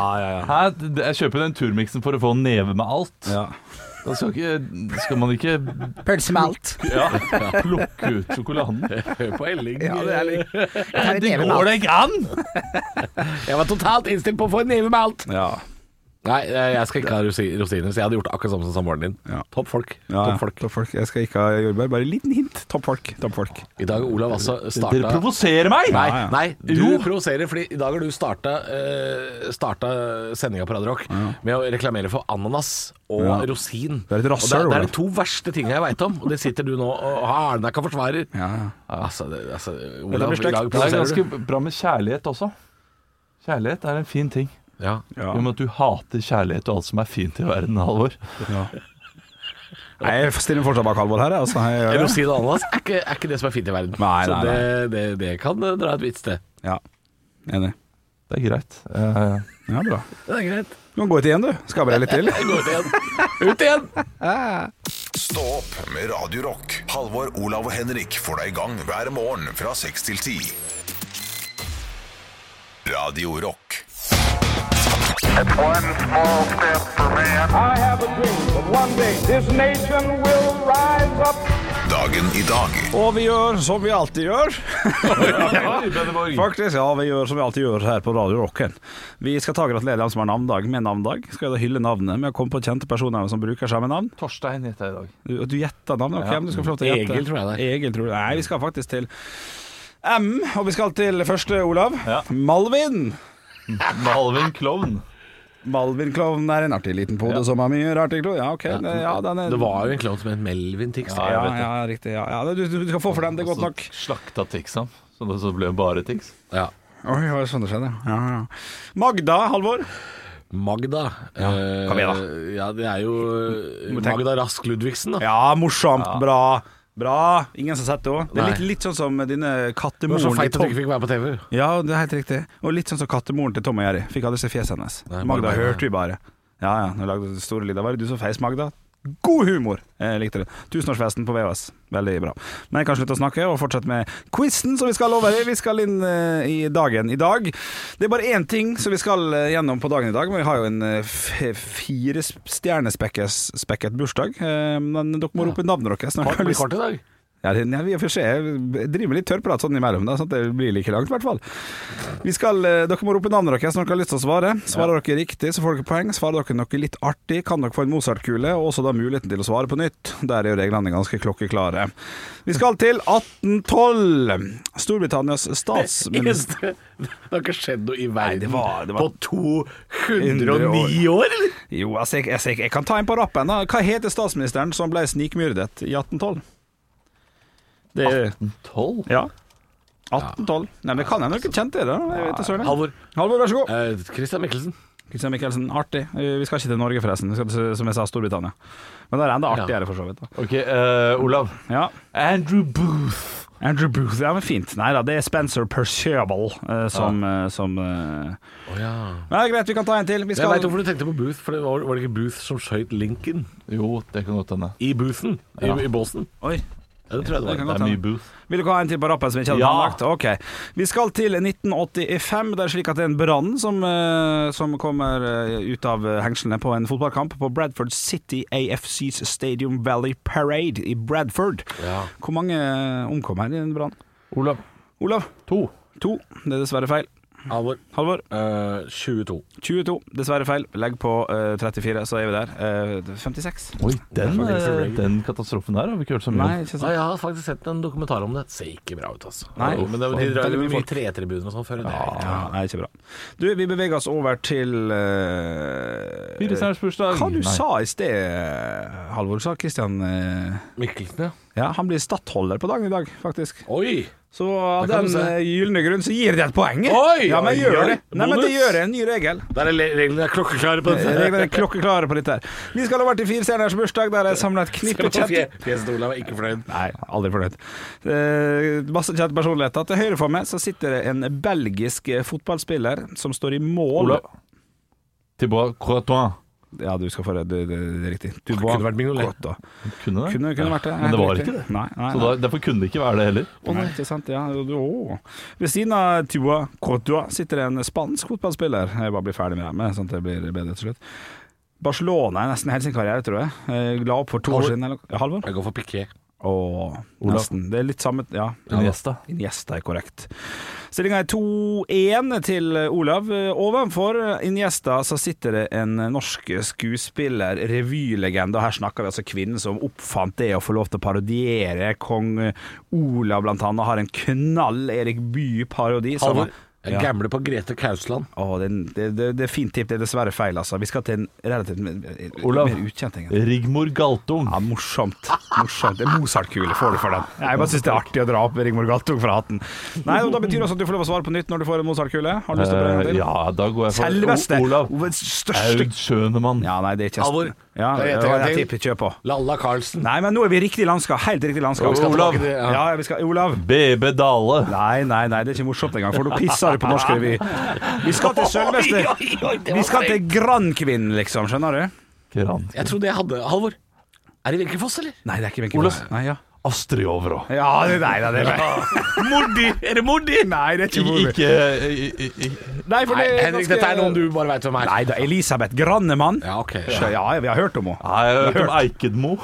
Speaker 5: Hæ? Det- Jeg kjøper den turmixen for å få en neve med alt.
Speaker 4: ja.
Speaker 5: Da skal, ikke, skal man ikke
Speaker 4: Pølse med alt.
Speaker 5: ja, plukke ut sjokoladen.
Speaker 3: <laughs> Hør på Elling.
Speaker 4: Ja, det er litt
Speaker 5: Det går da ikke an!
Speaker 3: Jeg var totalt innstilt på å få en neve med alt.
Speaker 4: Ja.
Speaker 3: Nei, eh, jeg skal ikke ha rosi- rosiner, så jeg hadde gjort akkurat samme som samboeren din.
Speaker 4: Ja.
Speaker 3: Topp folk.
Speaker 4: Ja,
Speaker 3: Topp folk.
Speaker 4: Toppfolk. Jeg skal ikke ha jordbær, bare en liten hint. Toppfolk. Toppfolk.
Speaker 3: I dag, Olav, altså
Speaker 5: Dere
Speaker 3: starta
Speaker 5: provoserer meg!
Speaker 3: Nei,
Speaker 4: ja.
Speaker 3: nei, du
Speaker 5: Jo.
Speaker 3: provoserer, fordi i dag har du starta, eh, starta sendinga på Radio Rock med å reklamere for ananas og
Speaker 4: Ja.
Speaker 3: rosin.
Speaker 4: Det er et
Speaker 3: Og
Speaker 4: rasshøl,
Speaker 3: det, det
Speaker 4: Olav.
Speaker 3: er de to verste tinga jeg veit om, og det sitter du nå og har deg og forsvarer.
Speaker 4: Ja, ja.
Speaker 3: Altså, det, altså, Olav, i dag
Speaker 4: blir stygt.
Speaker 5: Det er
Speaker 3: provoserer du.
Speaker 5: ganske bra med kjærlighet også. Kjærlighet er en fin ting.
Speaker 3: Ja.
Speaker 4: Ja.
Speaker 5: Jo, men at du hater kjærlighet og alt som er fint i verden, Halvor.
Speaker 4: Nei, jeg stiller meg fortsatt bak Halvor her, jeg, altså. Jeg gjør det.
Speaker 3: Rosin og ananas er ikke, er ikke det som er fint i verden.
Speaker 4: Nei,
Speaker 3: Så
Speaker 4: nei,
Speaker 3: det, det, det kan eh, dra et visst sted.
Speaker 4: Ja. Enig.
Speaker 5: Det er greit. Eh,
Speaker 4: Ja, bra.
Speaker 3: Det er greit.
Speaker 4: Du kan gå ut igjen, du. Skabre litt til.
Speaker 3: Gå ut igjen. Ut igjen!
Speaker 1: Stå opp med Radio Rock. Halvor, Olav og Henrik får deg i gang hver morgen fra 6 til 10. Radio Rock.
Speaker 6: It's one small step for man.
Speaker 7: I have a dream that one day this nation will rise up.
Speaker 1: Dagen i dag.
Speaker 4: Og vi gjør som vi alltid <laughs> gjør.
Speaker 5: Fuck.
Speaker 4: Faktisk, ja, vi gjør som vi alltid gjør her på Radio Rocken. Vi skal ta gratulere dem som har navndag med navndag. Skal da hylle navnet med å komme på kjente personer som bruker samme navn.
Speaker 5: Torstein heter jeg i dag.
Speaker 4: Du, du gjetter navnet? Ok,
Speaker 5: Ja.
Speaker 4: men du skal få lov til å gjette.
Speaker 3: Egil, tror jeg det
Speaker 4: Egil, tror jeg. Nei, vi skal faktisk til M, og vi skal til første, Olav.
Speaker 5: Ja.
Speaker 4: Malvin.
Speaker 5: Malvin Klovn.
Speaker 4: Malvin-klovnen er en artig liten pode som har mye rart i klo. Ja, ok. Det, ja, den er,
Speaker 3: Det var jo en klovn som het Melvin Tix.
Speaker 4: ja, ja, ja, riktig. Ja. Ja, du, du skal få for den, det er godt nok.
Speaker 3: Altså-
Speaker 5: Så Slakta Tixan, så det så ble det bare Tix.
Speaker 3: Ja.
Speaker 4: Oi, hva er det sånn det skjedde? Ja, ja. Magda, Halvor.
Speaker 3: Magda. Ja,
Speaker 4: kom igjen da.
Speaker 3: Ja, det er jo
Speaker 4: må tenke-
Speaker 3: Magda Rask Ludvigsen, da.
Speaker 4: Ja, morsomt, bra. Bra. Ingen som har sett henne. Det er litt,
Speaker 3: Nei.
Speaker 4: litt sånn som denne
Speaker 3: Det var
Speaker 4: kattemoren
Speaker 3: så feit
Speaker 4: til
Speaker 3: at du
Speaker 4: Tom.
Speaker 3: ikke fikk være på TV.
Speaker 4: Ja, det er helt riktig. Og litt sånn som kattemoren til Tom og Jerry. Fikk aldri se fjeset hennes.
Speaker 3: Nei,
Speaker 4: Magda
Speaker 3: Magda, ja.
Speaker 4: hørte vi bare. Ja ja, hun lagde det store lyder. Var det du som feis, Magda? God humor! Jeg likte det. Tusenårsfesten på VHS. Veldig bra. Men jeg kan slutte å snakke og fortsette med quizen som vi skal over i. Vi skal inn eh, i dagen i dag. Det er bare én ting som vi skal eh, gjennom på dagen i dag, men vi har jo en eh, f- fire stjernespekket bursdag. Eh, Men dere må rope navnet deres. når
Speaker 3: Kort,
Speaker 4: dere har
Speaker 3: blir
Speaker 4: lyst.
Speaker 3: kort i dag.
Speaker 4: Ja, det- ja, vi får se. Jeg driver med litt tørrprat sånn imellom, da, sånn at det blir like langt, i hvert fall. Vi skal, eh, dere må rope navnet deres når dere har lyst til å svare. Svarer dere riktig, så får dere poeng. Svarer dere noe litt artig, kan dere få en Mozart-kule, og også da muligheten til å svare på nytt. Der er jo reglene ganske klokkeklare. Vi skal til 1812. Storbritannias statsminister
Speaker 3: Eneste- Det har ikke skjedd noe i verden
Speaker 4: det var- det var-
Speaker 3: på 209
Speaker 4: 109
Speaker 3: år, eller?
Speaker 4: Jo, altså, jeg, altså, jeg, jeg kan ta en på rappen. da. Hva heter statsministeren som ble snikmyrdet i 1812? Det,
Speaker 5: 1812?
Speaker 4: ja. 1812. Nei, men det kan hende dere kjente det. da. Jeg vet det, søren.
Speaker 3: Halvor.
Speaker 4: Halvor, vær så god.
Speaker 3: Eh, Christian Mikkelsen.
Speaker 4: Kristian Mikkelsen, artig. Eh, Vi skal ikke til Norge, forresten. Vi skal til, som jeg sa, Storbritannia. Men det er enda artigere, for så vidt. Da.
Speaker 5: Ok, eh, Olav.
Speaker 4: Ja.
Speaker 5: Andrew Booth.
Speaker 4: Andrew Booth, ja, men fint. Nei da, det er Spencer Percival eh, som, eh, som eh,
Speaker 3: Oh, ja.
Speaker 4: Nei, greit, vi kan ta en til. Vi
Speaker 3: Jeg
Speaker 4: skal
Speaker 3: veit hvorfor du tenkte på Booth, for det var, var det ikke Booth som skøyt Lincoln?
Speaker 5: Jo, det kan godt hende.
Speaker 3: I Boothen? I, i Boston?
Speaker 4: Oi,
Speaker 3: Ja, det tror jeg det
Speaker 4: det
Speaker 3: var.
Speaker 4: kan
Speaker 5: Det
Speaker 4: godt
Speaker 5: er mye
Speaker 4: hende.
Speaker 5: Booth.
Speaker 4: Vil du ha en til på rappen som ikke hadde
Speaker 5: Ja.
Speaker 4: planlagt? Ok. Vi skal til 1985. Det er slik at det er en brann som, eh, som kommer eh, ut av eh, hengslene på en fotballkamp på Bradford City AFCs Stadium Valley Parade i Bradford. Hvor mange eh, omkom her i den brannen?
Speaker 5: Olav.
Speaker 4: Olav?
Speaker 5: To.
Speaker 4: To. Det er dessverre feil.
Speaker 3: Alvor.
Speaker 4: Halvor?
Speaker 3: Eh, 22.
Speaker 4: 22. Dessverre feil. Legg på eh, 34, så er vi der. Eh, 56.
Speaker 5: Oi, den,
Speaker 3: Det er faktisk
Speaker 5: eh,
Speaker 3: Reagan.
Speaker 5: den katastrofen der har vi ikke hørt så mye
Speaker 4: Nei,
Speaker 5: om.
Speaker 4: ikke
Speaker 3: Ja,
Speaker 4: sant.
Speaker 3: jeg har faktisk sett en dokumentar om det. Ser ikke bra ut, altså.
Speaker 4: Nei.
Speaker 3: men det, de
Speaker 4: Veldig
Speaker 3: drar jo
Speaker 4: mye
Speaker 3: mye
Speaker 4: folk.
Speaker 3: tretribuner og sånn før.
Speaker 4: Ja, nei, ikke bra. Du, vi beveger oss over til eh,
Speaker 5: Fire stjerners bursdag.
Speaker 4: Hva du
Speaker 5: Nei.
Speaker 4: sa i sted, Halvor, sa Kristian
Speaker 3: Mikkelsen, ja.
Speaker 4: Ja, han blir stattholder på dagen i dag, faktisk.
Speaker 3: Oi!
Speaker 4: Så av
Speaker 3: Det kan
Speaker 4: den
Speaker 3: du se.
Speaker 4: eh, gylne grunn så gir det et poeng. jeg.
Speaker 3: Oi,
Speaker 4: ja, men
Speaker 3: oi,
Speaker 4: gjør
Speaker 3: oi.
Speaker 4: det. Nei, men det
Speaker 3: Bonus.
Speaker 4: gjør jeg. En ny regel.
Speaker 3: Der er le- reglene er klokkeklare på dette.
Speaker 4: Reglene er klokkeklare på dette her. Vi skal over til fire stjerners bursdag, der jeg samla et knippe kjente
Speaker 3: Fjeset Olav er ikke fornøyd.
Speaker 4: Nei, aldri fornøyd. Eh, masse kjente personligheter. Til høyre for meg så sitter det en belgisk eh, fotballspiller som står i mål
Speaker 5: Olav. Tilbake Croatoin.
Speaker 4: Ja, du skal få det, det, det, det er riktig. Du
Speaker 3: kunne vært Mignolet.
Speaker 5: Kunne det?
Speaker 4: Kunne, kunne vært det.
Speaker 5: Men det var
Speaker 4: Helt riktig.
Speaker 5: ikke det.
Speaker 4: Nei, nei,
Speaker 5: Så
Speaker 4: nei.
Speaker 5: da, derfor kunne det ikke være det heller.
Speaker 4: Å nei, ikke sant. Ja, du- å. Ved siden av Tua Courtois sitter det en spansk fotballspiller. Jeg bare blir ferdig med det, med, sånn at det blir bedre til slutt. Barcelona er nesten hele sin karriere, tror jeg. Eh, La opp for to år
Speaker 3: Halvor.
Speaker 4: siden. Eller, Ja, Halvor?
Speaker 3: Jeg går for piké.
Speaker 4: Å,
Speaker 5: Olav.
Speaker 4: nesten. Det er litt samme Ja.
Speaker 5: Iniesta.
Speaker 4: Iniesta er korrekt. Stillinga er 2-1 til Olav. Ovenfor Iniesta så sitter det en norsk skuespiller, revylegende, og her snakker vi altså kvinnen som oppfant det å få lov til å parodiere kong Olav, blant annet. Har en knall Erik Bye-parodi. som-
Speaker 3: Halvor. Jeg
Speaker 4: Ja.
Speaker 3: gambler på Grete Kausland.
Speaker 4: Å, det, det, det, det er fint tipp, det er dessverre feil, altså. Vi skal til en relativt mer-
Speaker 5: Olav.
Speaker 4: mer ukjent ting.
Speaker 5: Rigmor Galtung.
Speaker 4: Ja, morsomt. morsomt. Det er Mozart-kule får du for den. Jeg bare syns det er artig å dra opp Rigmor Galtung fra hatten. Nei, og Da betyr det også at du får lov å svare på nytt når du får en Mozart-kule. Har du lyst til å prøve en
Speaker 5: Eh,
Speaker 4: til?
Speaker 5: ja, da går jeg for
Speaker 4: Selveste!
Speaker 5: O- Olav.
Speaker 4: Ovens største
Speaker 5: Aud Schønemann.
Speaker 4: Ja, nei, det er ikke
Speaker 3: Alvor.
Speaker 4: Ja,
Speaker 3: Da gjetter
Speaker 4: det var
Speaker 3: jeg
Speaker 4: et
Speaker 3: til.
Speaker 4: tipp. Kjør på.
Speaker 3: Lalla Carlsen.
Speaker 4: Nei, men nå er vi i riktig landskap. Helt riktig landskap.
Speaker 3: Vi skal
Speaker 5: Olav.
Speaker 3: tilbake til-
Speaker 4: Ja,
Speaker 3: Ja.
Speaker 4: ja, vi skal Olav.
Speaker 5: BB Dale.
Speaker 4: Nei, nei, nei, det er ikke morsomt engang, for nå pisser du på norsk revy. Vi skal til sølveste Vi skal til Grandkvinnen, liksom. Skjønner du?
Speaker 5: Gran.
Speaker 3: Jeg trodde jeg hadde Halvor. Er det Wenche Foss, eller?
Speaker 4: Nei, det er ikke
Speaker 5: Olav.
Speaker 4: Nei, ja.
Speaker 5: Astrid Overå.
Speaker 4: ja, det, nei, nei, det er
Speaker 3: <laughs> Mordi! Er det Mordi?
Speaker 4: Nei, det er ikke
Speaker 5: I-
Speaker 4: Mordi.
Speaker 5: Ikke i- i- i-
Speaker 4: Nei, for
Speaker 3: Nei,
Speaker 4: det er
Speaker 3: Henrik,
Speaker 4: ganske-
Speaker 3: dette er noen du bare veit hvem er.
Speaker 4: Nei da, Elisabeth Grannemann.
Speaker 3: Ja, ok.
Speaker 4: Ja, ja, vi har hørt om henne.
Speaker 5: Nei, jeg har hørt om
Speaker 4: Hørt.
Speaker 5: Eikedmo.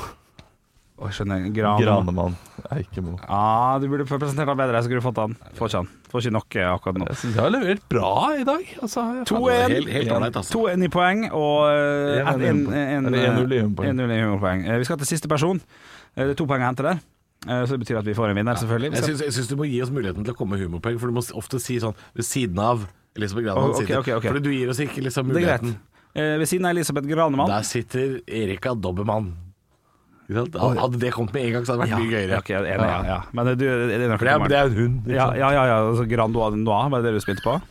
Speaker 4: Å, skjønner, Granemann.
Speaker 5: Granemann. Eikemo.
Speaker 4: Ja, du burde presentert deg bedre, så skulle du fått han. Får ikke han. Får ikke noe akkurat nå.
Speaker 5: Jeg syns jeg har levert bra i dag. Altså, jeg-
Speaker 3: Ja, det var helt- helt ålreit, altså.
Speaker 4: 2-1 i poeng og eh,
Speaker 5: En-
Speaker 4: en- en- en-
Speaker 5: Eller 1-0 i humorpoeng.
Speaker 4: 1-0 i humorpoeng. Eh, Vi skal til siste person. Eh, Det er to poeng å hente der. Eh, Så det betyr at vi får en vinner, selvfølgelig. Vi
Speaker 3: Jeg
Speaker 4: skal-
Speaker 3: syns, jeg syns du må gi oss muligheten til å komme med humorpoeng, for du må s- ofte si sånn ved siden av Elisabeth Granholm
Speaker 4: Å, ok,
Speaker 3: sitter.
Speaker 4: ok, ok.
Speaker 3: Fordi du gir oss ikke liksom
Speaker 4: Det er greit.
Speaker 3: muligheten.
Speaker 4: Eh, Ved siden av Elisabeth Granemann.
Speaker 3: Der sitter Erika Dobbemann. Ikke sant? Hadde det kommet med en gang, så hadde det vært mye gøyere.
Speaker 4: ok, enig, ja, ja. Men eh, du, det er nok sånn.
Speaker 3: For det er, det er en hund. ikke
Speaker 4: Ja,
Speaker 3: sant?
Speaker 4: ja, ja, ja. Altså, Grand Noir, var det det du spilte på?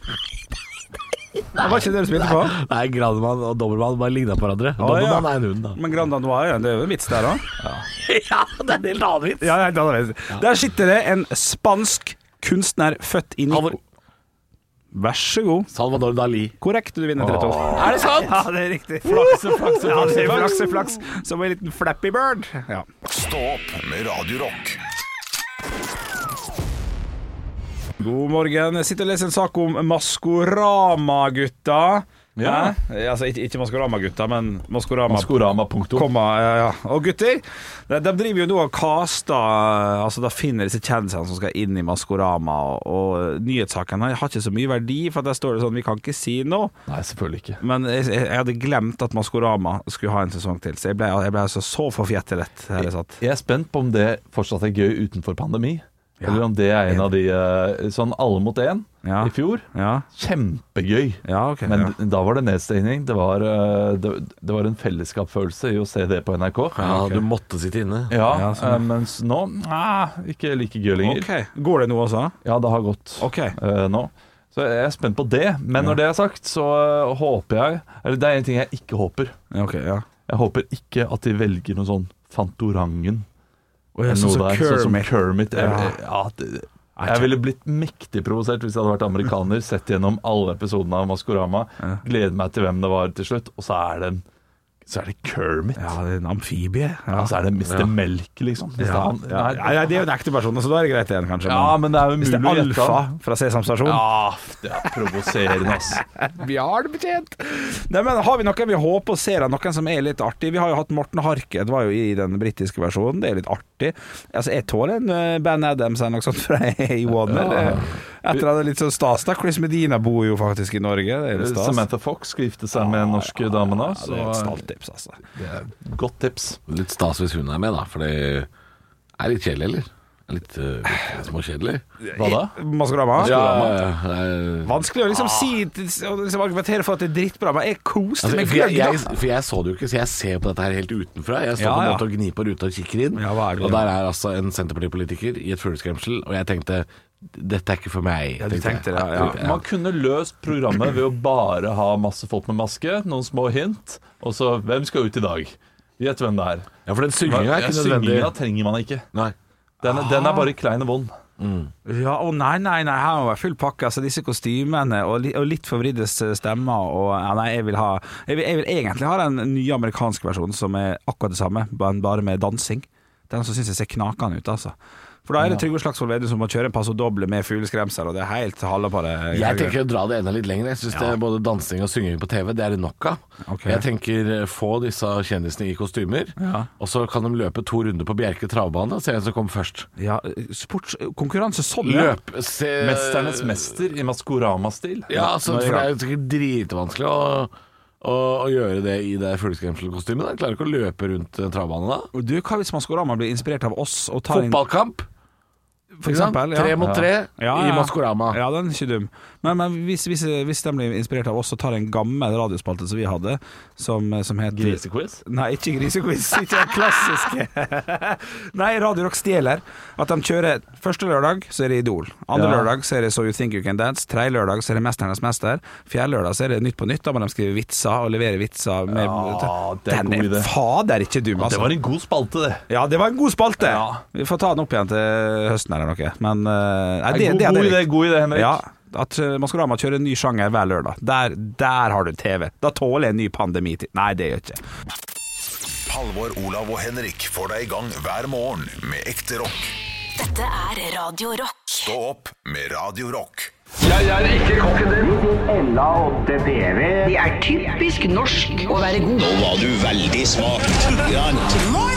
Speaker 4: Det var ikke det du spilte på?
Speaker 3: Nei, Granemann og Dobbelmann bare ligna på hverandre. Dobbelmann er en hund, da.
Speaker 4: Men Grand Danois, ja, det er jo en vits der òg.
Speaker 3: <laughs> Ja, det er en helt annen vits.
Speaker 4: Ja, det er helt annerledes. Der sitter det en spansk kunstner født inn i
Speaker 3: Halvor
Speaker 4: Vær så god.
Speaker 3: Salvador Dali.
Speaker 4: Korrekt, du vinner 3-2.
Speaker 3: Er det sant?
Speaker 4: Ja, det er riktig. Flaks, flaks, flaks, flaks, flaks. Som en liten Flappy Bird. Ja.
Speaker 1: Stå opp med Radio Rock.
Speaker 4: God morgen. Jeg sitter og leser en sak om Maskorama-gutta. Ja. Altså, ikke, ikke Maskorama-gutta, men Maskorama.
Speaker 5: Maskorama, punktum.
Speaker 4: Komma, ja, ja. Og gutter, de, de driver jo nå og caster Altså, da finner disse kjendisene som skal inn i Maskorama, og, og nyhetssakene har ikke så mye verdi, for der står det sånn Vi kan ikke si noe.
Speaker 5: Nei, selvfølgelig ikke.
Speaker 4: Men jeg, jeg jeg hadde glemt at Maskorama skulle ha en sesong til, så jeg ble, jeg ble altså så forfjettet. Her jeg satt.
Speaker 5: Jeg er spent på om det fortsatt er gøy utenfor pandemi. Eller om det er en av de eh, sånn alle mot én
Speaker 4: Ja.
Speaker 5: i fjor.
Speaker 4: Ja,
Speaker 5: Kjempegøy.
Speaker 4: ja ok.
Speaker 5: Men
Speaker 4: ja.
Speaker 5: d- da var det nedstengning. Det var, eh, det, det var en fellesskapsfølelse i å se det på NRK.
Speaker 3: Ja, du måtte sitte inne.
Speaker 5: Ja,
Speaker 4: Ja, sånn, ja.
Speaker 5: eh, mens nå ah, ikke like gøy lenger.
Speaker 4: Ok. Går det nå også?
Speaker 5: Ja, det har gått
Speaker 4: Ok.
Speaker 5: eh, nå. Så jeg er spent på det. Men når det er sagt, så eh, håper jeg Eller det er en ting jeg ikke håper.
Speaker 4: Ja, ok, ja.
Speaker 5: Jeg håper ikke at de velger noe sånn Fantorangen.
Speaker 4: Og jeg
Speaker 5: Noe
Speaker 4: synes
Speaker 5: der,
Speaker 4: at
Speaker 5: sånn som
Speaker 4: Kermit
Speaker 5: Kermit. Jeg,
Speaker 4: Ja.
Speaker 5: jeg, ja, det, jeg ville blitt mektig provosert hvis jeg hadde vært amerikaner, sett gjennom alle episodene av Maskorama, gleder meg til hvem det var til slutt, og så er det, en- så er det Kermit.
Speaker 4: Ja, det er en amfibie. Ja,
Speaker 5: Og så altså, er det Mr. Melk, liksom. Hvis
Speaker 4: ja,
Speaker 5: det er han-
Speaker 4: ja.
Speaker 5: nei,
Speaker 4: Nei, det er jo en ekte person, så da er det greit igjen, kanskje.
Speaker 5: ja, men det er jo
Speaker 4: Hvis det er
Speaker 5: umulig å gjette
Speaker 4: Alfa
Speaker 5: han.
Speaker 4: fra Sesam stasjon
Speaker 5: Ja, det er provoserende, ass.
Speaker 4: Vi har det betjent! Nei, men har vi noen vi håper og ser av noen som er litt artig? Vi har jo hatt Morten Harket, var jo i den britiske versjonen. Det er litt artig. Altså, jeg tåler en eh, Ben Adams eller noe sånt fra <laughs> A1. eller- eh, Etter at det er litt sånn stas. da Chris Medina bor jo faktisk i Norge. Det er litt stas.
Speaker 5: Samantha Fox skal gifte seg med den norske damen nå,
Speaker 4: Ja, det er et
Speaker 5: så
Speaker 4: stalltips, altså.
Speaker 5: godt tips.
Speaker 3: Litt stas hvis hun er med, da, for det er litt kjedelig, eller? Er Litt, eh, litt småkjedelig.
Speaker 5: Hva da?
Speaker 4: Maskorama?
Speaker 3: Ja, Ah. ja, ja.
Speaker 4: Vanskelig å liksom si og liksom argumentere for at det er drittbra, men jeg koste
Speaker 3: Altså,
Speaker 4: meg
Speaker 3: for, jeg,
Speaker 4: gløgg,
Speaker 3: jeg,
Speaker 4: da.
Speaker 3: for jeg så det jo ikke, så jeg ser på dette her helt utenfra. Jeg står
Speaker 4: Ja,
Speaker 3: på en
Speaker 4: ja.
Speaker 3: måte og gnir på ruta og kikker inn,
Speaker 4: Ja, hva er det?
Speaker 3: og der er altså en Senterpartipolitiker i et fugleskremsel, og jeg tenkte dette er ikke for meg.
Speaker 4: Ja, du tenkte det, ja, ja.
Speaker 5: Man kunne løst programmet ved å bare ha masse folk med maske, noen små hint, og så hvem skal ut i dag? Gjett hvem det er.
Speaker 3: Ja, for den synginga er
Speaker 5: Ja,
Speaker 3: ikke nødvendig.
Speaker 5: Synginga trenger man ikke.
Speaker 3: Nei. Ah.
Speaker 5: Den, den er bare klein og vond.
Speaker 4: Ja, å nei, nei, nei, her må det være full pakke. Altså, disse kostymene og, li, og litt forvridde stemmer og ja, Nei, jeg vil ha jeg vil, jeg vil egentlig ha den nye amerikanske versjonen som er akkurat det samme, men bare med dansing. Den som syns jeg ser knakende ut, altså. For da er det Trygve Slagsvold Vedum som må kjøre en passo doble med fugleskremsel, og det er helt halla på det.
Speaker 3: Jeg tenker å dra det enda litt lenger. Jeg syns både dansing og synging på TV, det er det nok av.
Speaker 4: Ok.
Speaker 3: Jeg tenker eh, få disse kjendisene i kostymer, og så kan de løpe to runder på Bjerke travbane og se hvem som kommer først.
Speaker 4: ja, Sportskonkurranse sånn, ja.
Speaker 3: Løp, se
Speaker 5: Mesternes mester i Maskorama-stil.
Speaker 3: Eh, Ja, altså,
Speaker 4: Nå er
Speaker 3: for det
Speaker 4: jeg glad.
Speaker 3: er jo sikkert dritvanskelig å, å, å gjøre det i det fugleskremselkostymet. da. Jeg Klarer ikke å løpe rundt eh, travbanen da.
Speaker 4: Og Du, hva hvis Maskorama blir inspirert av oss og tar inn
Speaker 3: Fotballkamp,
Speaker 4: for eksempel?
Speaker 3: tre mot tre
Speaker 4: Ja, ja.
Speaker 3: i Maskorama.
Speaker 4: Ja, den er ikke dum. Men, men hvis, hvis, hvis de blir inspirert av oss og tar en gammel radiospalte som vi hadde, som, som het
Speaker 5: Grisequiz.
Speaker 4: Nei, ikke grisequiz. <laughs> Ikke den klassiske. <laughs> Nei, Radio Rock stjeler. At de kjører første lørdag, så er det Idol. Andre
Speaker 5: Ja.
Speaker 4: lørdag så er det So You Think You Can Dance. Tredje lørdag så er det Mesternes mester. Fjerde lørdag så er det Nytt på nytt. Da må de skrive vitser og levere vitser. Med,
Speaker 5: Ja, det er en
Speaker 4: den
Speaker 5: god idé.
Speaker 4: er fader ikke dum,
Speaker 5: Det
Speaker 4: altså.
Speaker 5: var en god spalte, det.
Speaker 4: Ja, det var en god spalte.
Speaker 5: Ja.
Speaker 4: Vi får ta den opp igjen til høsten eller noe. Men eh, nei, hadde
Speaker 5: god, god
Speaker 4: jeg
Speaker 5: idé,
Speaker 4: likt.
Speaker 5: god idé, Henrik.
Speaker 4: Ja, at eh, Maskorama kjører en ny sjanger hver lørdag. Der, der har du TV. Da tåler jeg en ny pandemi til. Nei, det gjør jeg ikke.
Speaker 1: Halvor, Olav og Henrik får deg i gang hver morgen med ekte rock.
Speaker 2: Dette er Radio Rock.
Speaker 1: Stå opp med Radio Rock.
Speaker 8: Det er typisk norsk å være god. Nå var du veldig smak.
Speaker 9: Hvor er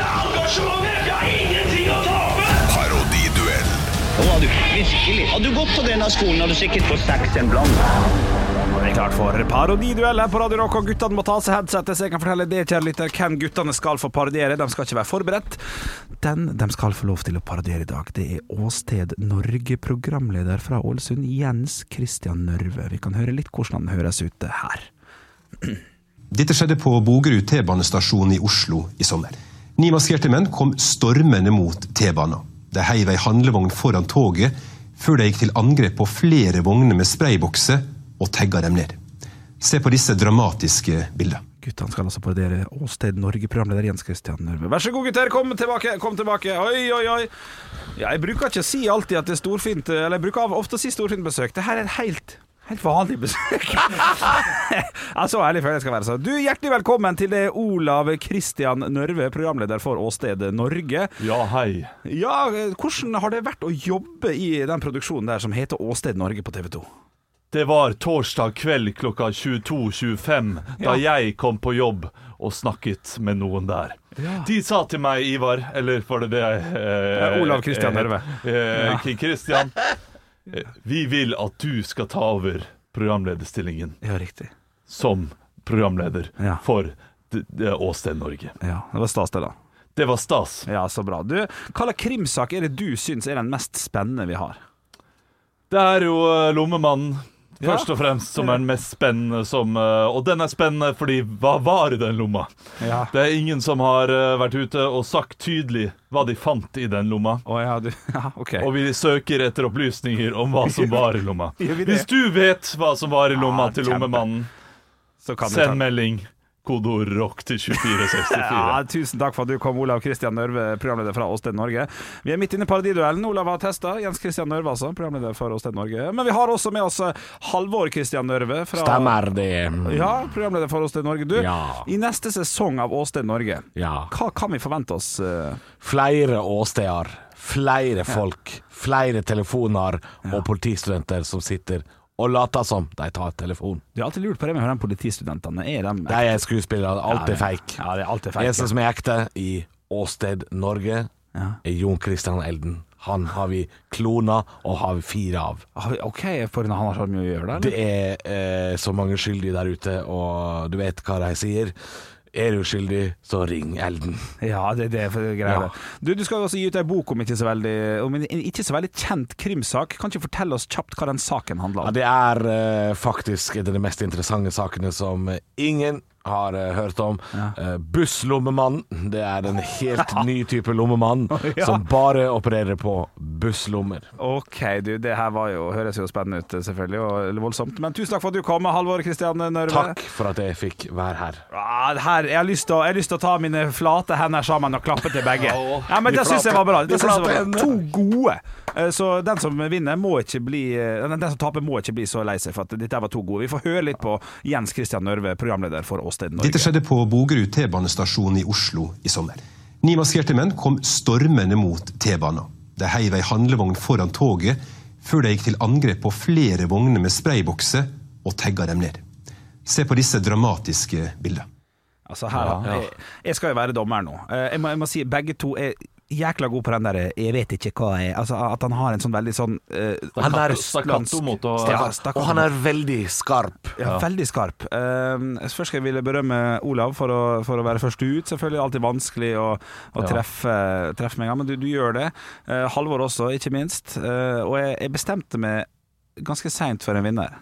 Speaker 9: engasjementet? Jeg har ingenting å tape!
Speaker 1: Parodiduell.
Speaker 8: Nå var du virkelig. Hadde du gått på denne skolen, hadde du sikkert fått seks en blant.
Speaker 4: Nå er det klart for parodiduell her på Radio Rock, og guttene må ta av seg headsetet, så jeg kan fortelle det, kjære lytter, hvem guttene skal få parodiere. De skal ikke være forberedt. Den de skal få lov til å parodiere i dag, det er Åsted Norge, programleder fra Ålesund, Jens Christian Nørve. Vi kan høre litt hvordan han høres ut her.
Speaker 10: Dette skjedde på Bogerud T-banestasjon i Oslo i sommer. Ni maskerte menn kom stormende mot T-banen. De heiv ei handlevogn foran toget, før de gikk til angrep på flere vogner med spraybokser og tagga dem ned. Se på disse dramatiske bildene.
Speaker 4: Guttene skal altså parodiere Åsted Norge, programleder Jens Christian Nørve. Vær så god, gutter, kom tilbake! kom tilbake Oi, oi, oi! Jeg bruker ikke å si alltid at det er storfint, eller jeg bruker av- ofte å si storfint besøk. Det her er et helt Helt vanlig besøk. <laughs> jeg er så ærlig før jeg skal være så. Du, Hjertelig velkommen til det Olav Christian Nørve, programleder for Åsted Norge.
Speaker 5: Ja, hei.
Speaker 4: Ja, Hvordan har det vært å jobbe i den produksjonen der som heter Åsted Norge på TV 2?
Speaker 5: Det var torsdag kveld klokka 22.25 da jeg kom på jobb og snakket med noen der. De sa til meg, Ivar, eller var det det jeg eh,
Speaker 4: Eh, Olav Christian
Speaker 5: eh,
Speaker 4: Nørve.
Speaker 5: Eh, King Christian. eh, Vi vil at du skal ta over programlederstillingen
Speaker 4: Ja, riktig.
Speaker 5: som programleder
Speaker 4: Ja.
Speaker 5: for D- D- Åsted Norge.
Speaker 4: Ja, Det var stas, det, da.
Speaker 5: Det var stas.
Speaker 4: Ja, så bra. Du, hva slags krimsak er det du syns er den mest spennende vi har?
Speaker 5: Det er jo eh, Lommemannen.
Speaker 4: Ja.
Speaker 5: Først og fremst som er den mest spennende som eh, Og den er spennende fordi hva var i den lomma?
Speaker 4: Ja.
Speaker 5: Det er ingen som har eh, vært ute og sagt tydelig hva de fant i den lomma.
Speaker 4: Å ja, du <laughs> Ja, OK.
Speaker 5: Og vi søker etter opplysninger om hva som var i lomma.
Speaker 4: Gjør vi det?
Speaker 5: Hvis du vet hva som var i lomma
Speaker 4: Ja,
Speaker 5: til
Speaker 4: kjempe.
Speaker 5: lommemannen,
Speaker 4: Så kan vi ta-
Speaker 5: send melding. Kodeord rock
Speaker 4: <laughs>
Speaker 5: til 2464.
Speaker 4: Ja, tusen takk for at du kom, Olav Kristian Nørve, programleder fra Åsted Norge. Vi er midt inne i parodiduellen. Olav har testa. Jens Kristian Nørve, altså, programleder for Åsted Norge. Men vi har også med oss eh, Halvor Kristian Nørve. Fra
Speaker 3: Stemmer det.
Speaker 4: Ja, programleder for Åsted Norge. Du,
Speaker 3: Ja.
Speaker 4: i neste sesong av Åsted Norge,
Speaker 3: Ja.
Speaker 4: hva kan vi forvente oss? eh?
Speaker 3: Flere åsteder, flere folk, flere telefoner og politistudenter som sitter og later som de tar telefon.
Speaker 4: Du har alltid lurt på det med de politistudentene. Er de
Speaker 3: De er skuespillere, alt er fake.
Speaker 4: Ja, det er alltid
Speaker 3: Det
Speaker 4: feil.
Speaker 3: eneste som er ekte i Åsted Norge,
Speaker 4: Ja.
Speaker 3: er Jon Christian Elden. Han har vi klona, og har vi fire av.
Speaker 4: Har vi- OK, for han har så mye å gjøre der?
Speaker 3: Det er eh, så mange skyldige der ute, og du vet hva de sier. Er du skyldig, så ring Elden.
Speaker 4: Ja, det, det er for greier
Speaker 3: Ja.
Speaker 4: det. Du, du skal jo også gi ut ei bok om ikke så veldig Om en en ikke så veldig kjent krimsak. Kan ikke fortelle oss kjapt hva den saken handler
Speaker 3: Ja,
Speaker 4: om?
Speaker 3: det er eh, faktisk en av de mest interessante sakene som ingen har eh, hørt om. Eh, busslommemannen. Det er en
Speaker 4: <laughs>
Speaker 3: helt ny type lommemann
Speaker 4: Ja.
Speaker 3: som bare opererer på busslommer.
Speaker 4: Ok, du, det her var jo, høres jo spennende ut, selvfølgelig, og voldsomt. Men tusen takk for at du kom, Halvor Kristian Nørve.
Speaker 3: Takk for at jeg fikk være her.
Speaker 4: Ah, det her, jeg, har lyst til å, jeg har lyst til å ta mine flate hender sammen og klappe til begge. <laughs> Ja, men Det syns jeg var bra. Det synes jeg var bra. To gode. Eh, Så den som vinner, må ikke bli eh, Den den som taper, må ikke bli så lei seg, for at dette var to gode. Vi får høre litt på Jens Christian Nørve, programleder for Åsted Norge.
Speaker 10: Dette skjedde på Bogerud T-banestasjon i Oslo i sommer. Ni maskerte menn kom stormende mot T-banen. De heiv ei handlevogn foran toget før de gikk til angrep på flere vogner med spraybokser og tagga dem ned. Se på disse dramatiske bildene.
Speaker 4: Altså her, Jeg, jeg skal jo være dommer nå. Eh, Jeg må, jeg må si begge to er jækla gode på den der eh, 'jeg vet ikke hva jeg Altså at han har en sånn veldig sånn eh, han der
Speaker 5: Stakkato mot å
Speaker 4: Ja,
Speaker 3: Og han er veldig skarp.
Speaker 4: ja, Veldig skarp. Eh, først skal jeg ville berømme Olav for å, for å være først ut. Selvfølgelig alltid vanskelig å, å treffe, treffe meg, men du, du gjør det. Eh, Halvor også, ikke minst. Eh, og jeg, jeg bestemte meg ganske seint for en vinner.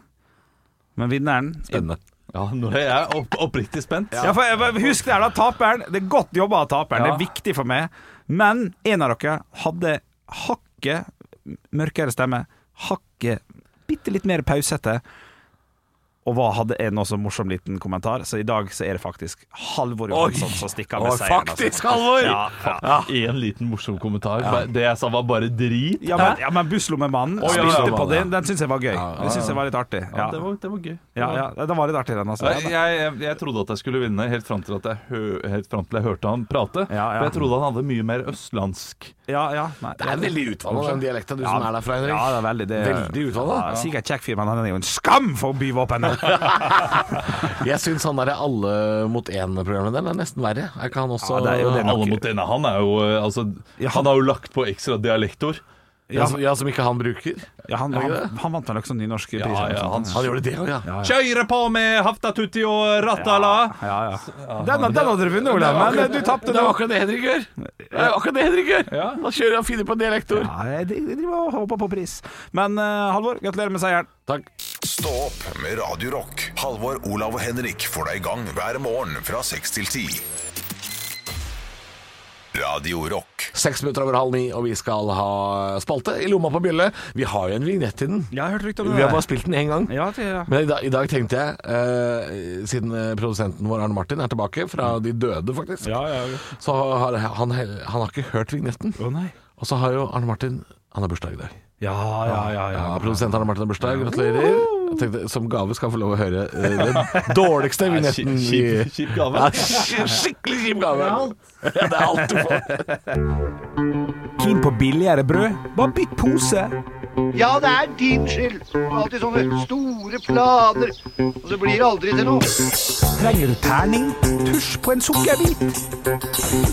Speaker 4: Men vinneren
Speaker 3: Spennende.
Speaker 5: Ja, nå er jeg opp, oppriktig spent.
Speaker 4: Ja, for jeg- Husk det her, da. Taperen. Det er godt jobba av taperen.
Speaker 5: Ja.
Speaker 4: Det er viktig for meg. Men en av dere hadde hakket mørkere stemme, hakket bitte litt mer pausete. Og hva hadde jeg nå som morsom liten kommentar? Så i dag så er det faktisk Halvor Johansson som stikker av med
Speaker 3: Oi,
Speaker 4: seieren.
Speaker 3: faktisk,
Speaker 4: altså.
Speaker 3: Halvor!
Speaker 4: Ja, ja.
Speaker 5: En liten morsom kommentar. Det jeg sa var bare drit.
Speaker 4: Ja, men, ja, men Buslommemannen
Speaker 5: Å, ja, ja,
Speaker 4: spilte
Speaker 5: ja.
Speaker 4: på den. Den syns jeg var gøy. Den syns jeg var litt artig. Ja,
Speaker 5: Det, var, det var gøy.
Speaker 4: ja, ja den var litt artig, den. Altså.
Speaker 5: Jeg, jeg, jeg trodde at jeg skulle vinne helt fram til, at jeg, hø helt fram til jeg hørte han prate.
Speaker 4: Ja, ja.
Speaker 5: For jeg trodde han hadde mye mer østlandsk.
Speaker 4: Ja, ja, nei.
Speaker 3: Det er veldig utvanna, den dialekten du som er derfra, Henrik.
Speaker 4: Ja, det er veldig, det er,
Speaker 3: Veldig utvanna.
Speaker 4: Ja, sikkert kjekk fyr, men han er jo en skam for byvåpenet!
Speaker 3: Jeg syns han der er alle mot én-programmet der, det er nesten verre. Er ikke han også
Speaker 4: Ja, det er jo det nok.
Speaker 5: Alle mot denne. Han er jo eh, altså,
Speaker 4: Ja, han-
Speaker 5: Han har jo lagt på ekstra dialektord.
Speaker 3: Ja, som, ja, som ikke han bruker?
Speaker 4: Ja, han,
Speaker 3: Er det
Speaker 4: han,
Speaker 3: ikke det?
Speaker 4: han vant vel også en nynorsk pris?
Speaker 5: Ja,
Speaker 4: eller noe
Speaker 5: ja, han
Speaker 4: sånt.
Speaker 3: Han gjorde det òg, ja.
Speaker 5: Kjøre på med haftatutti og rattala!
Speaker 4: ja, ja. Den, den hadde du vunnet, Olav, men eh, du tapte
Speaker 3: Det
Speaker 4: nå.
Speaker 3: var akkurat det Henrik gjør! Det er akkurat det Henrik gjør! Da kjører han finner på en dialektord.
Speaker 4: Ja, jeg jeg driver og håper på pris. Men eh, Halvor, gratulerer med seieren.
Speaker 3: Takk.
Speaker 1: Stå opp med Radio Rock. Halvor, Olav og Henrik får deg i gang hver morgen fra 6 til 10. Radio Rock.
Speaker 3: Seks minutter over halv ni, og vi skal ha spalte i lomma på bjølle. Vi har jo en vignett til den.
Speaker 4: Jeg har hørt rykter om
Speaker 3: Vi
Speaker 4: det.
Speaker 3: har
Speaker 4: der.
Speaker 3: bare spilt den én gang.
Speaker 4: Ja, det, ja.
Speaker 3: Men i dag, i dag tenkte jeg, eh, siden eh, produsenten vår Arne Martin er tilbake fra de døde, faktisk,
Speaker 4: Ja, ja, ja.
Speaker 3: så har han, han har ikke hørt vignetten.
Speaker 4: Å nei.
Speaker 3: Og så har jo Arne Martin Han har bursdag i dag.
Speaker 4: Ja, ja, ja. ja.
Speaker 3: Ja, Produsent Arne Martin har bursdag. Gratulerer. Jeg tenkte, som gave skal han få lov å høre eh, den dårligste vignetten. i-
Speaker 5: Kjip, kjip gave.
Speaker 3: Ja, sk- skikkelig kjip gave. <laughs> Ja, det er alt du får.
Speaker 4: Keen på billigere brød? Bare bytt pose.
Speaker 8: Ja, det er din skyld. Alltid sånne store planer, og så blir det aldri til noe.
Speaker 4: Trenger du terning? Tusj på en sukkerbit.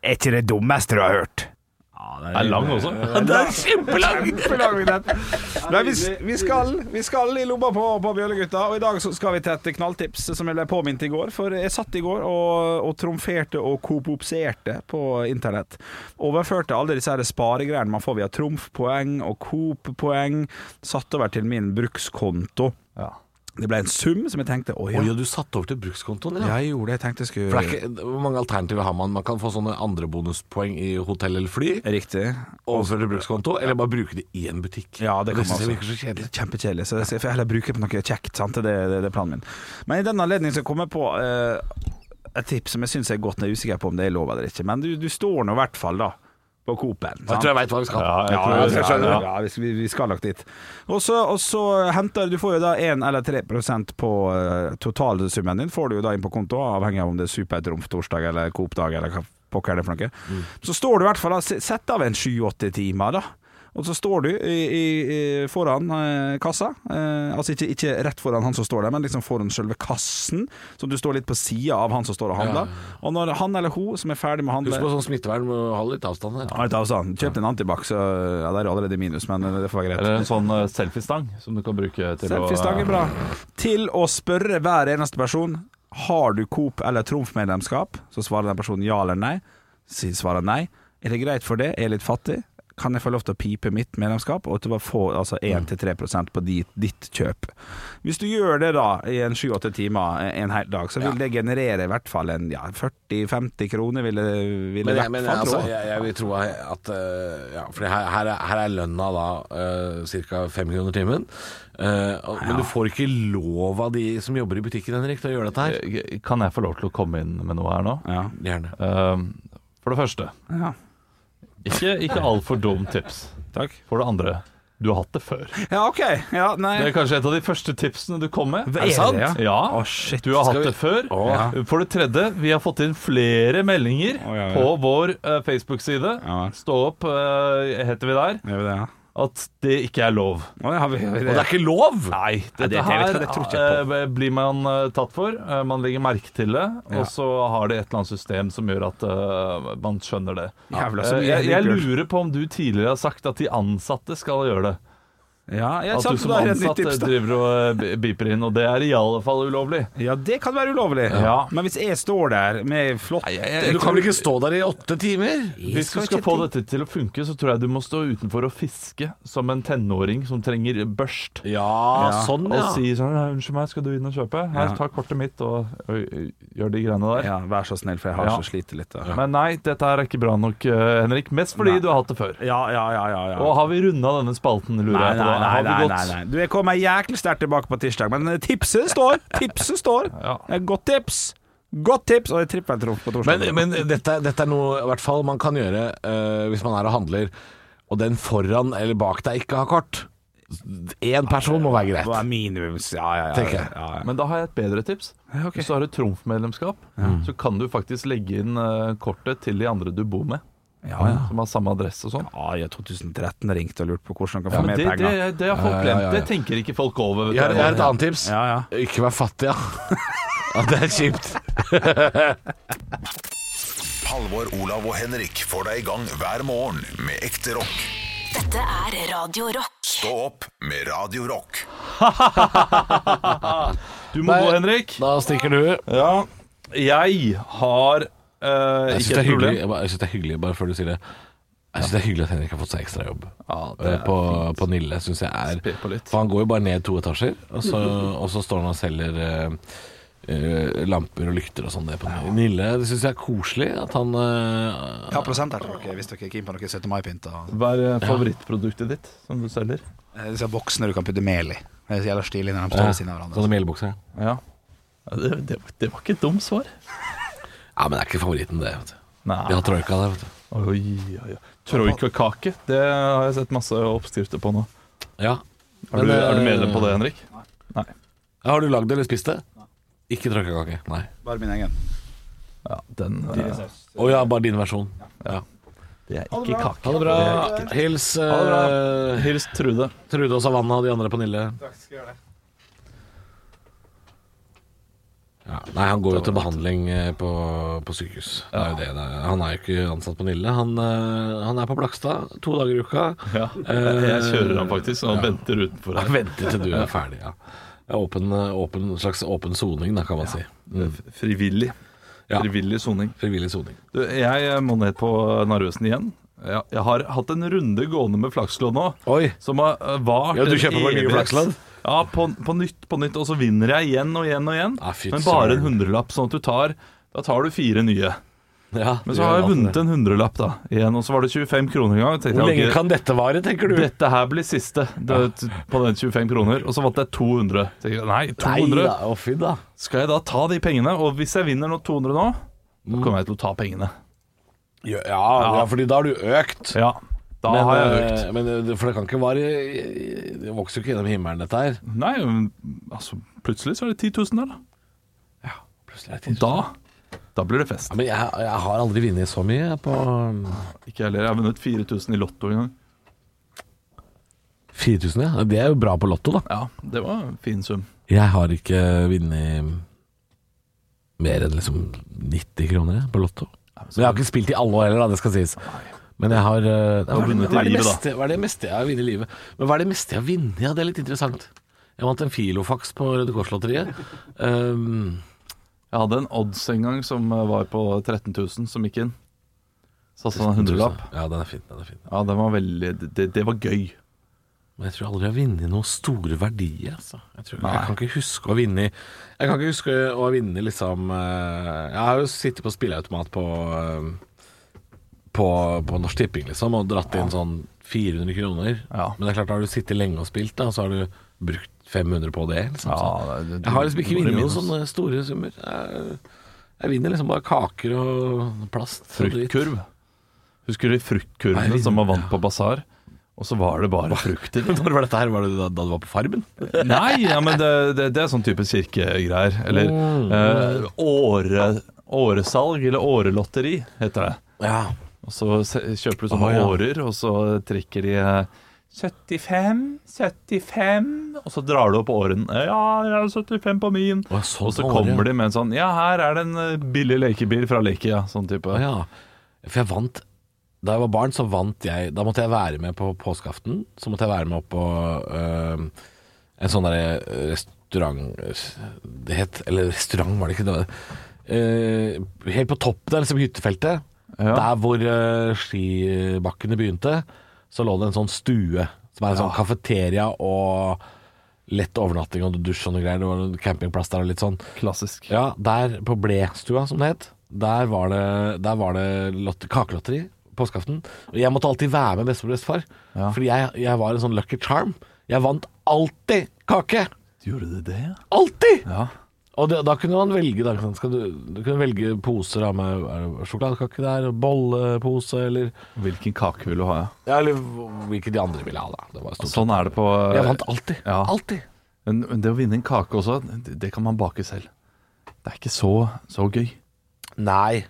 Speaker 4: Er ikke det dummeste du har hørt?
Speaker 5: Den er lang også.
Speaker 4: Nei, vi, vi, skal, vi skal i lomma på, på Bjøllegutta, og i dag så skal vi til et knalltips som jeg ble påminnet i går. For jeg satt i går og, og tromferte og kopopserte på internett. Overførte alle disse her sparegreiene man får via trumfpoeng og coop-poeng, satt over til min brukskonto.
Speaker 5: Ja.
Speaker 4: Det ble en sum som jeg tenkte å ja.
Speaker 3: Oi, og du satte over til brukskontoen din, ja.
Speaker 4: Jeg gjorde det jeg tenkte jeg skulle
Speaker 3: For det er ikke, hvor mange alternativer har man? Man kan få sånne andre bonuspoeng i hotell eller fly.
Speaker 4: Riktig.
Speaker 3: Overføre til brukskonto, eller bare bruke det i en butikk.
Speaker 4: Ja, det kan man
Speaker 3: synes jeg
Speaker 4: også.
Speaker 3: virker så kjedelig.
Speaker 4: Kjempekjedelig, så jeg får heller bruke det på noe kjekt. Sant? Det, det, det er planen min. Men i den anledning så kom jeg på eh, et tips som jeg syns er godt, men jeg er usikker på om det er lov eller ikke. Men du, du står nå i hvert fall da på Coop-en.
Speaker 3: Jeg tror jeg veit hva vi skal.
Speaker 5: Ja, jeg
Speaker 4: Ja,
Speaker 5: tror
Speaker 4: ja,
Speaker 5: jeg
Speaker 4: ja,
Speaker 5: skjønner.
Speaker 4: ja, vi, skal- vi- vi skal nok dit. Og så, og så henter du får jo da 1 eller 3 på eh, totalsummen din, får du jo da inn på konto, avhengig av om det er Supertrumf torsdag eller Coop-dag eller hva pokker er det for noe. Så står du i hvert fall da, se- sett av en 7-8 timer, da. Og så står du i, i, i, foran eh, kassa, eh, altså ikke, ikke rett foran han som står der, men liksom foran selve kassen, så du står litt på sida av han som står og handler. Og når han eller hun som er ferdig med å handle
Speaker 3: Husk på sånn smittevern, må holde litt avstand her.
Speaker 4: ja, litt avstand. altså. Kjøpt en antibac, så ja, det er allerede minus, men det får være greit.
Speaker 5: Eller en sånn eh, selfiestang som du kan bruke til
Speaker 4: Selfiestang
Speaker 5: å
Speaker 4: er bra. Til å spørre hver eneste person har du Coop eller Trumf-medlemskap, så svarer den personen ja eller nei. Si svarer nei. Er det greit for det? Er jeg litt fattig? Kan jeg få lov til å pipe mitt medlemskap, og at du bare får altså 1-3 på ditt, ditt kjøp? Hvis du gjør det da i en 7-8 timer eh, en hel dag, så vil det generere i hvert fall en ja, 40-50 kroner, vil det, vil det
Speaker 3: Men,
Speaker 4: i
Speaker 3: jeg, men
Speaker 4: hvert fall
Speaker 3: altså,
Speaker 4: tro.
Speaker 3: jeg, jeg vil tro at eh, ja, For her, her, er- her er lønna da uh, ca. fem kroner timen. Eh, og, Men du får ikke lov av de som jobber i butikken, Henrik, til å gjøre dette her.
Speaker 5: Eh, Kan jeg få lov til å komme inn med noe her nå?
Speaker 4: Ja.
Speaker 3: Gjerne.
Speaker 4: eh,
Speaker 5: Ehm, For det første,
Speaker 4: ja.
Speaker 5: ikke, ikke altfor dumt tips.
Speaker 4: Takk.
Speaker 5: For det andre, du har hatt det før.
Speaker 4: Ja, OK. Ja, nei.
Speaker 5: Det er kanskje et av de første tipsene du kom med.
Speaker 4: Er det sant? det, ja?
Speaker 5: Ja.
Speaker 4: Å, shit.
Speaker 5: Du har
Speaker 3: Skal
Speaker 5: hatt
Speaker 3: vi-
Speaker 5: det før.
Speaker 3: Å.
Speaker 5: For det tredje, vi har fått inn flere meldinger
Speaker 4: ja, ja.
Speaker 5: på vår eh, Facebook-side.
Speaker 4: Ja.
Speaker 5: Stå opp, eh, heter vi der.
Speaker 4: Gjør vi det, ja?
Speaker 5: At det ikke er lov.
Speaker 4: Å, ja, har vi, har vi
Speaker 3: Og det er ikke lov!
Speaker 5: Nei,
Speaker 4: det-
Speaker 5: dette
Speaker 4: det vet
Speaker 5: her
Speaker 4: jeg, det tror ikke
Speaker 5: eh, blir man eh, tatt for. Eh, man legger merke til det, og så har det et eller annet system som gjør at eh, man skjønner det.
Speaker 4: Jævla så
Speaker 5: Eh,
Speaker 4: mye
Speaker 5: jeg, jeg
Speaker 4: drikkøl.
Speaker 5: lurer på om du tidligere har sagt at de ansatte skal gjøre det.
Speaker 4: Ja, jeg
Speaker 5: At du som ansatt driver og eh, bi- biper inn, og det er i alle fall ulovlig.
Speaker 4: Ja, det kan være ulovlig.
Speaker 5: Ja.
Speaker 4: Men hvis jeg står der med flott
Speaker 3: Du kan vel ikke stå der i åtte timer?
Speaker 5: Hvis du skal få dette til å funke, så tror jeg du må stå utenfor og fiske som en tenåring som trenger børst.
Speaker 3: Ja, sånn,
Speaker 5: Og
Speaker 3: ja.
Speaker 5: si sånn 'Unnskyld meg, skal du inn og kjøpe?' Her,
Speaker 4: Ja.
Speaker 5: ta kortet mitt og, og gjør de greiene der.
Speaker 4: Ja, vær så snill, for jeg har
Speaker 5: Ja.
Speaker 4: så sliter litt. Da.
Speaker 5: Men nei, dette her er ikke bra nok, eh, Henrik. Mest fordi
Speaker 4: Nei.
Speaker 5: du har hatt det før.
Speaker 4: Ja, ja, ja, ja, ja.
Speaker 5: Og har vi runda denne spalten, lurer
Speaker 4: Nei,
Speaker 5: jeg på.
Speaker 4: nei, nei,
Speaker 5: da?
Speaker 4: nei,
Speaker 5: Har
Speaker 4: nei,
Speaker 5: vi gått?
Speaker 4: nei. Du, jeg kommer jæklig sterkt tilbake på tirsdag, men eh, tipset
Speaker 5: <laughs>
Speaker 4: står! Tipset står.
Speaker 5: Ja.
Speaker 4: Det er Godt tips! Godt tips! Og jeg trippeltrumf på torsdag.
Speaker 3: Men, men dette, dette er noe i hvert fall man kan gjøre eh, hvis man er og handler, og den foran eller bak deg ikke har kort. Én person må være
Speaker 4: det
Speaker 3: greit.
Speaker 4: er minimums Ja, ja, ja.
Speaker 3: Tenker jeg.
Speaker 4: ja, ja.
Speaker 5: Men da har jeg et bedre tips. Hvis du har et trumfmedlemskap, så kan du faktisk legge inn eh, kortet til de andre du bor med,
Speaker 4: ja, ja.
Speaker 5: som har samme adresse og sånn.
Speaker 4: Ah, ja, 2013 ringte og lurte på hvordan han kan få
Speaker 5: Ja, men
Speaker 4: mer
Speaker 5: det, det,
Speaker 4: penger.
Speaker 5: det har folk
Speaker 3: Ja, ja, ja,
Speaker 5: glemt.
Speaker 3: ja.
Speaker 5: Det tenker ikke folk over. Vet
Speaker 3: Jeg har,
Speaker 5: du.
Speaker 3: jeg har et annet tips.
Speaker 4: Ja, ja.
Speaker 3: Ikke vær fattig, ja. <laughs> ja det er kjipt.
Speaker 1: Halvor, Olav og Henrik får deg i gang hver morgen med ekte rock.
Speaker 2: Dette er Radio Rock.
Speaker 1: Stå opp med Radio Rock.
Speaker 5: Du må
Speaker 3: Nei.
Speaker 5: gå, Henrik.
Speaker 3: Da stikker du.
Speaker 5: Ja, jeg har eh,
Speaker 3: Jeg syns det,
Speaker 5: ikke et
Speaker 3: er hyggelig-
Speaker 5: problem.
Speaker 3: jeg bare- jeg synes det er hyggelig, bare før du sier det. Jeg syns det er hyggelig at Henrik har fått seg ekstrajobb
Speaker 5: Ja, det
Speaker 3: Eh,
Speaker 5: er
Speaker 3: på, på Nille. Synes jeg er
Speaker 5: Spir på litt.
Speaker 3: For han går jo bare ned to etasjer, og så, og så står han og selger eh, eh, lamper og lykter og sånn det på Nille. Det syns jeg er koselig at han eh,
Speaker 4: Ja, prosent her til dere, hvis dere er keen på noe 17. mai-pynter.
Speaker 5: Hva er eh, favorittproduktet ditt som du selger?
Speaker 4: Disse Eh, voksne du kan putte mel i. Det er så jævla stilig når de står ved siden av hverandre.
Speaker 3: Sånne melbukser.
Speaker 5: Ja, ja det, det, det var ikke et dumt svar.
Speaker 3: Ja, men det er ikke favoritten, det. vet du
Speaker 5: Nei.
Speaker 3: Vi har troika der, vet du.
Speaker 5: Oi, oi, oi. Troikakake, det har jeg sett masse oppskrifter på nå.
Speaker 3: Ja.
Speaker 5: Er du, er du medlem på det, Henrik? Nei.
Speaker 3: Ja, har du lagd det eller spist det? Ikke troikakake. Nei.
Speaker 4: Bare min egen.
Speaker 5: Ja, den eh,
Speaker 3: Å ja, bare din versjon. Ja.
Speaker 5: Det er ikke kake.
Speaker 3: Ha det bra. Hils eh,
Speaker 5: Ha det bra. Hils Trude.
Speaker 3: Trude og Savanna og de andre på Nille. Ja, nei, han går jo til behandling eh, på, på sykehus. Det er jo det, det er. Han er jo ikke ansatt på Nille. Han, eh, han er på Blakstad to dager i uka.
Speaker 5: Ja, jeg jeg kjører han faktisk, og han venter
Speaker 3: <laughs>
Speaker 5: utenfor
Speaker 3: Jeg
Speaker 5: her.
Speaker 3: venter til du er ferdig. Ja. Det er Åpen, eh, åpen, slags åpen soning, da, kan man si. Mm.
Speaker 5: Frivillig.
Speaker 3: Ja.
Speaker 5: Frivillig soning.
Speaker 3: Frivillig soning.
Speaker 5: Du, jeg eh, må ned på Narvesen igjen. Jeg, jeg har hatt en runde gående med flakslodd nå.
Speaker 3: Oi.
Speaker 5: Som har eh, vart
Speaker 3: Ja, du
Speaker 5: en
Speaker 3: kjøper bare nye
Speaker 5: evighet.
Speaker 3: flakslodd?
Speaker 5: Ja, på, på nytt, på nytt. Og så vinner jeg igjen og igjen og igjen.
Speaker 3: Ah, fy
Speaker 5: men bare en
Speaker 3: søren.
Speaker 5: hundrelapp, sånn at du tar Da tar du fire nye.
Speaker 3: Ja,
Speaker 5: Men så har jeg vunnet en hundrelapp, da. Igjen, og så var det 25 kroner en gang. Tenkte
Speaker 3: Hvor
Speaker 5: jeg,
Speaker 3: lenge
Speaker 5: ok,
Speaker 3: kan dette vare, tenker du?
Speaker 5: Dette her blir siste det, på den 25 kroner. Og så vant jeg 200. Tenkte jeg, nei,
Speaker 3: Nei
Speaker 5: 200.
Speaker 3: da, å fy da.
Speaker 5: Skal jeg da ta de pengene? Og hvis jeg vinner nå 200 nå,
Speaker 3: Mm.
Speaker 5: da kommer jeg til å ta pengene.
Speaker 3: Ja, ja, ja, fordi da har du økt.
Speaker 5: Ja, da
Speaker 3: men,
Speaker 5: har jeg økt.
Speaker 3: eh, Men, eh, for det kan ikke vare Det vokser jo ikke gjennom himmelen, dette her.
Speaker 5: Nei, men, altså, plutselig så er det 10 000 der, da.
Speaker 3: Plutselig er det
Speaker 5: Og
Speaker 3: tidlig.
Speaker 5: da, da blir det fest.
Speaker 3: Ja, men jeg, jeg har aldri vunnet så mye på um,
Speaker 5: Ikke heller. Jeg har vunnet 4000 i Lotto en gang.
Speaker 3: 4000, ja. Det er jo bra på Lotto, da.
Speaker 5: Ja, det var en fin sum.
Speaker 3: Jeg har ikke vunnet mer enn liksom 90 kroner jeg, på Lotto. Men jeg har ikke spilt i alle år heller, da, det skal sies. Men jeg har eh, hva, er det,
Speaker 5: vunnet i
Speaker 3: hva, er det
Speaker 5: livet, da.
Speaker 3: meste, hva er det meste jeg har vunnet i livet? Men hva er det meste jeg har vunnet? Ja, det er litt interessant. Jeg vant en Filofax på Røde <laughs> Kors-lotteriet. Um,
Speaker 5: Jeg hadde en odds en gang som eh, var på 13 000, som gikk inn. Satsa en hundrelapp.
Speaker 3: Ja, den er fin. Den er fin.
Speaker 5: Ja, den var veldig Det, det var gøy.
Speaker 3: Men jeg tror aldri jeg har vunnet noen store verdier. Altså. Jeg, tror, jeg kan ikke huske å vinne i- Jeg kan ikke huske å ha vunnet liksom eh, Jeg har jo sittet på spilleautomat på, eh, på, på Norsk Tipping liksom, og dratt inn sånn 400 kroner.
Speaker 5: Ja.
Speaker 3: Men det er klart, da har du sittet lenge og spilt, da, og så har du brukt 500 på det. Liksom, så.
Speaker 5: det- det-
Speaker 3: Jeg har liksom ikke
Speaker 5: Sånn. det var
Speaker 3: vunnet noen
Speaker 5: minus.
Speaker 3: sånne store summer. Jeg, jeg vinner liksom bare kaker og plast. og dritt.
Speaker 5: Fruktkurv. Husker du de fruktkurvene
Speaker 3: Nei,
Speaker 5: som man vant på basar? Og så var det bare
Speaker 3: <laughs>
Speaker 5: frukter.
Speaker 3: <laughs> Når var dette her? Var det da, da du var på Farmen?
Speaker 5: Nei, ja, men det, det, det er sånn type kirkegreier. Eller
Speaker 3: Mm.
Speaker 5: eh, åre, åresalg, eller årelotteri, heter det.
Speaker 3: Ja.
Speaker 5: Og så se- kjøper du sånne
Speaker 3: Å, ja.
Speaker 5: årer, og så trikker de eh, 75, 75 Og så drar du opp åren. Eh, Ja, jeg er 75 på min.
Speaker 3: Å, sånn
Speaker 5: og så
Speaker 3: åre, ja.
Speaker 5: kommer de med en sånn Ja, her er det en eh, billig lekebil fra Leke, ja. Sånn type.
Speaker 3: Å ja. For jeg vant Da jeg var barn, så vant jeg Da måtte jeg være med på påskeaften. Så måtte jeg være med opp på øh, en sånn derre restaurant eh, Det het Eller restaurant, var det ikke? Det var, øh, helt på toppen der, liksom hyttefeltet.
Speaker 5: Ja.
Speaker 3: Der hvor øh, skibakkene begynte, så lå det en sånn stue. Som er en sånn kafeteria og lett overnatting og dusj og noe greier. Det var en campingplass der og litt sånn.
Speaker 5: Klassisk.
Speaker 3: Ja, der på Blestua, som det het, der var det, der var det lotte, kakelotteri påskeaften. Og jeg måtte alltid være med bestemor og bestefar, fordi jeg, jeg var en sånn lucky charm. Jeg vant alltid kake!
Speaker 5: Gjorde de det?
Speaker 3: Alltid!
Speaker 5: Ja.
Speaker 3: Og det, da kunne man velge da, ikke sant? skal du, du kunne velge poser da, med er det sjokoladekake der, og bollepose eller
Speaker 5: Hvilken kake vil du ha? Ja?
Speaker 3: Ja, eller hvilke de andre ville ha, da. Det var stort.
Speaker 5: Sånn er det på
Speaker 3: Jeg vant alltid.
Speaker 5: Ja.
Speaker 3: Alltid.
Speaker 5: Men men det å vinne en kake også, det det kan man bake selv. Det er ikke så, så gøy.
Speaker 3: Nei.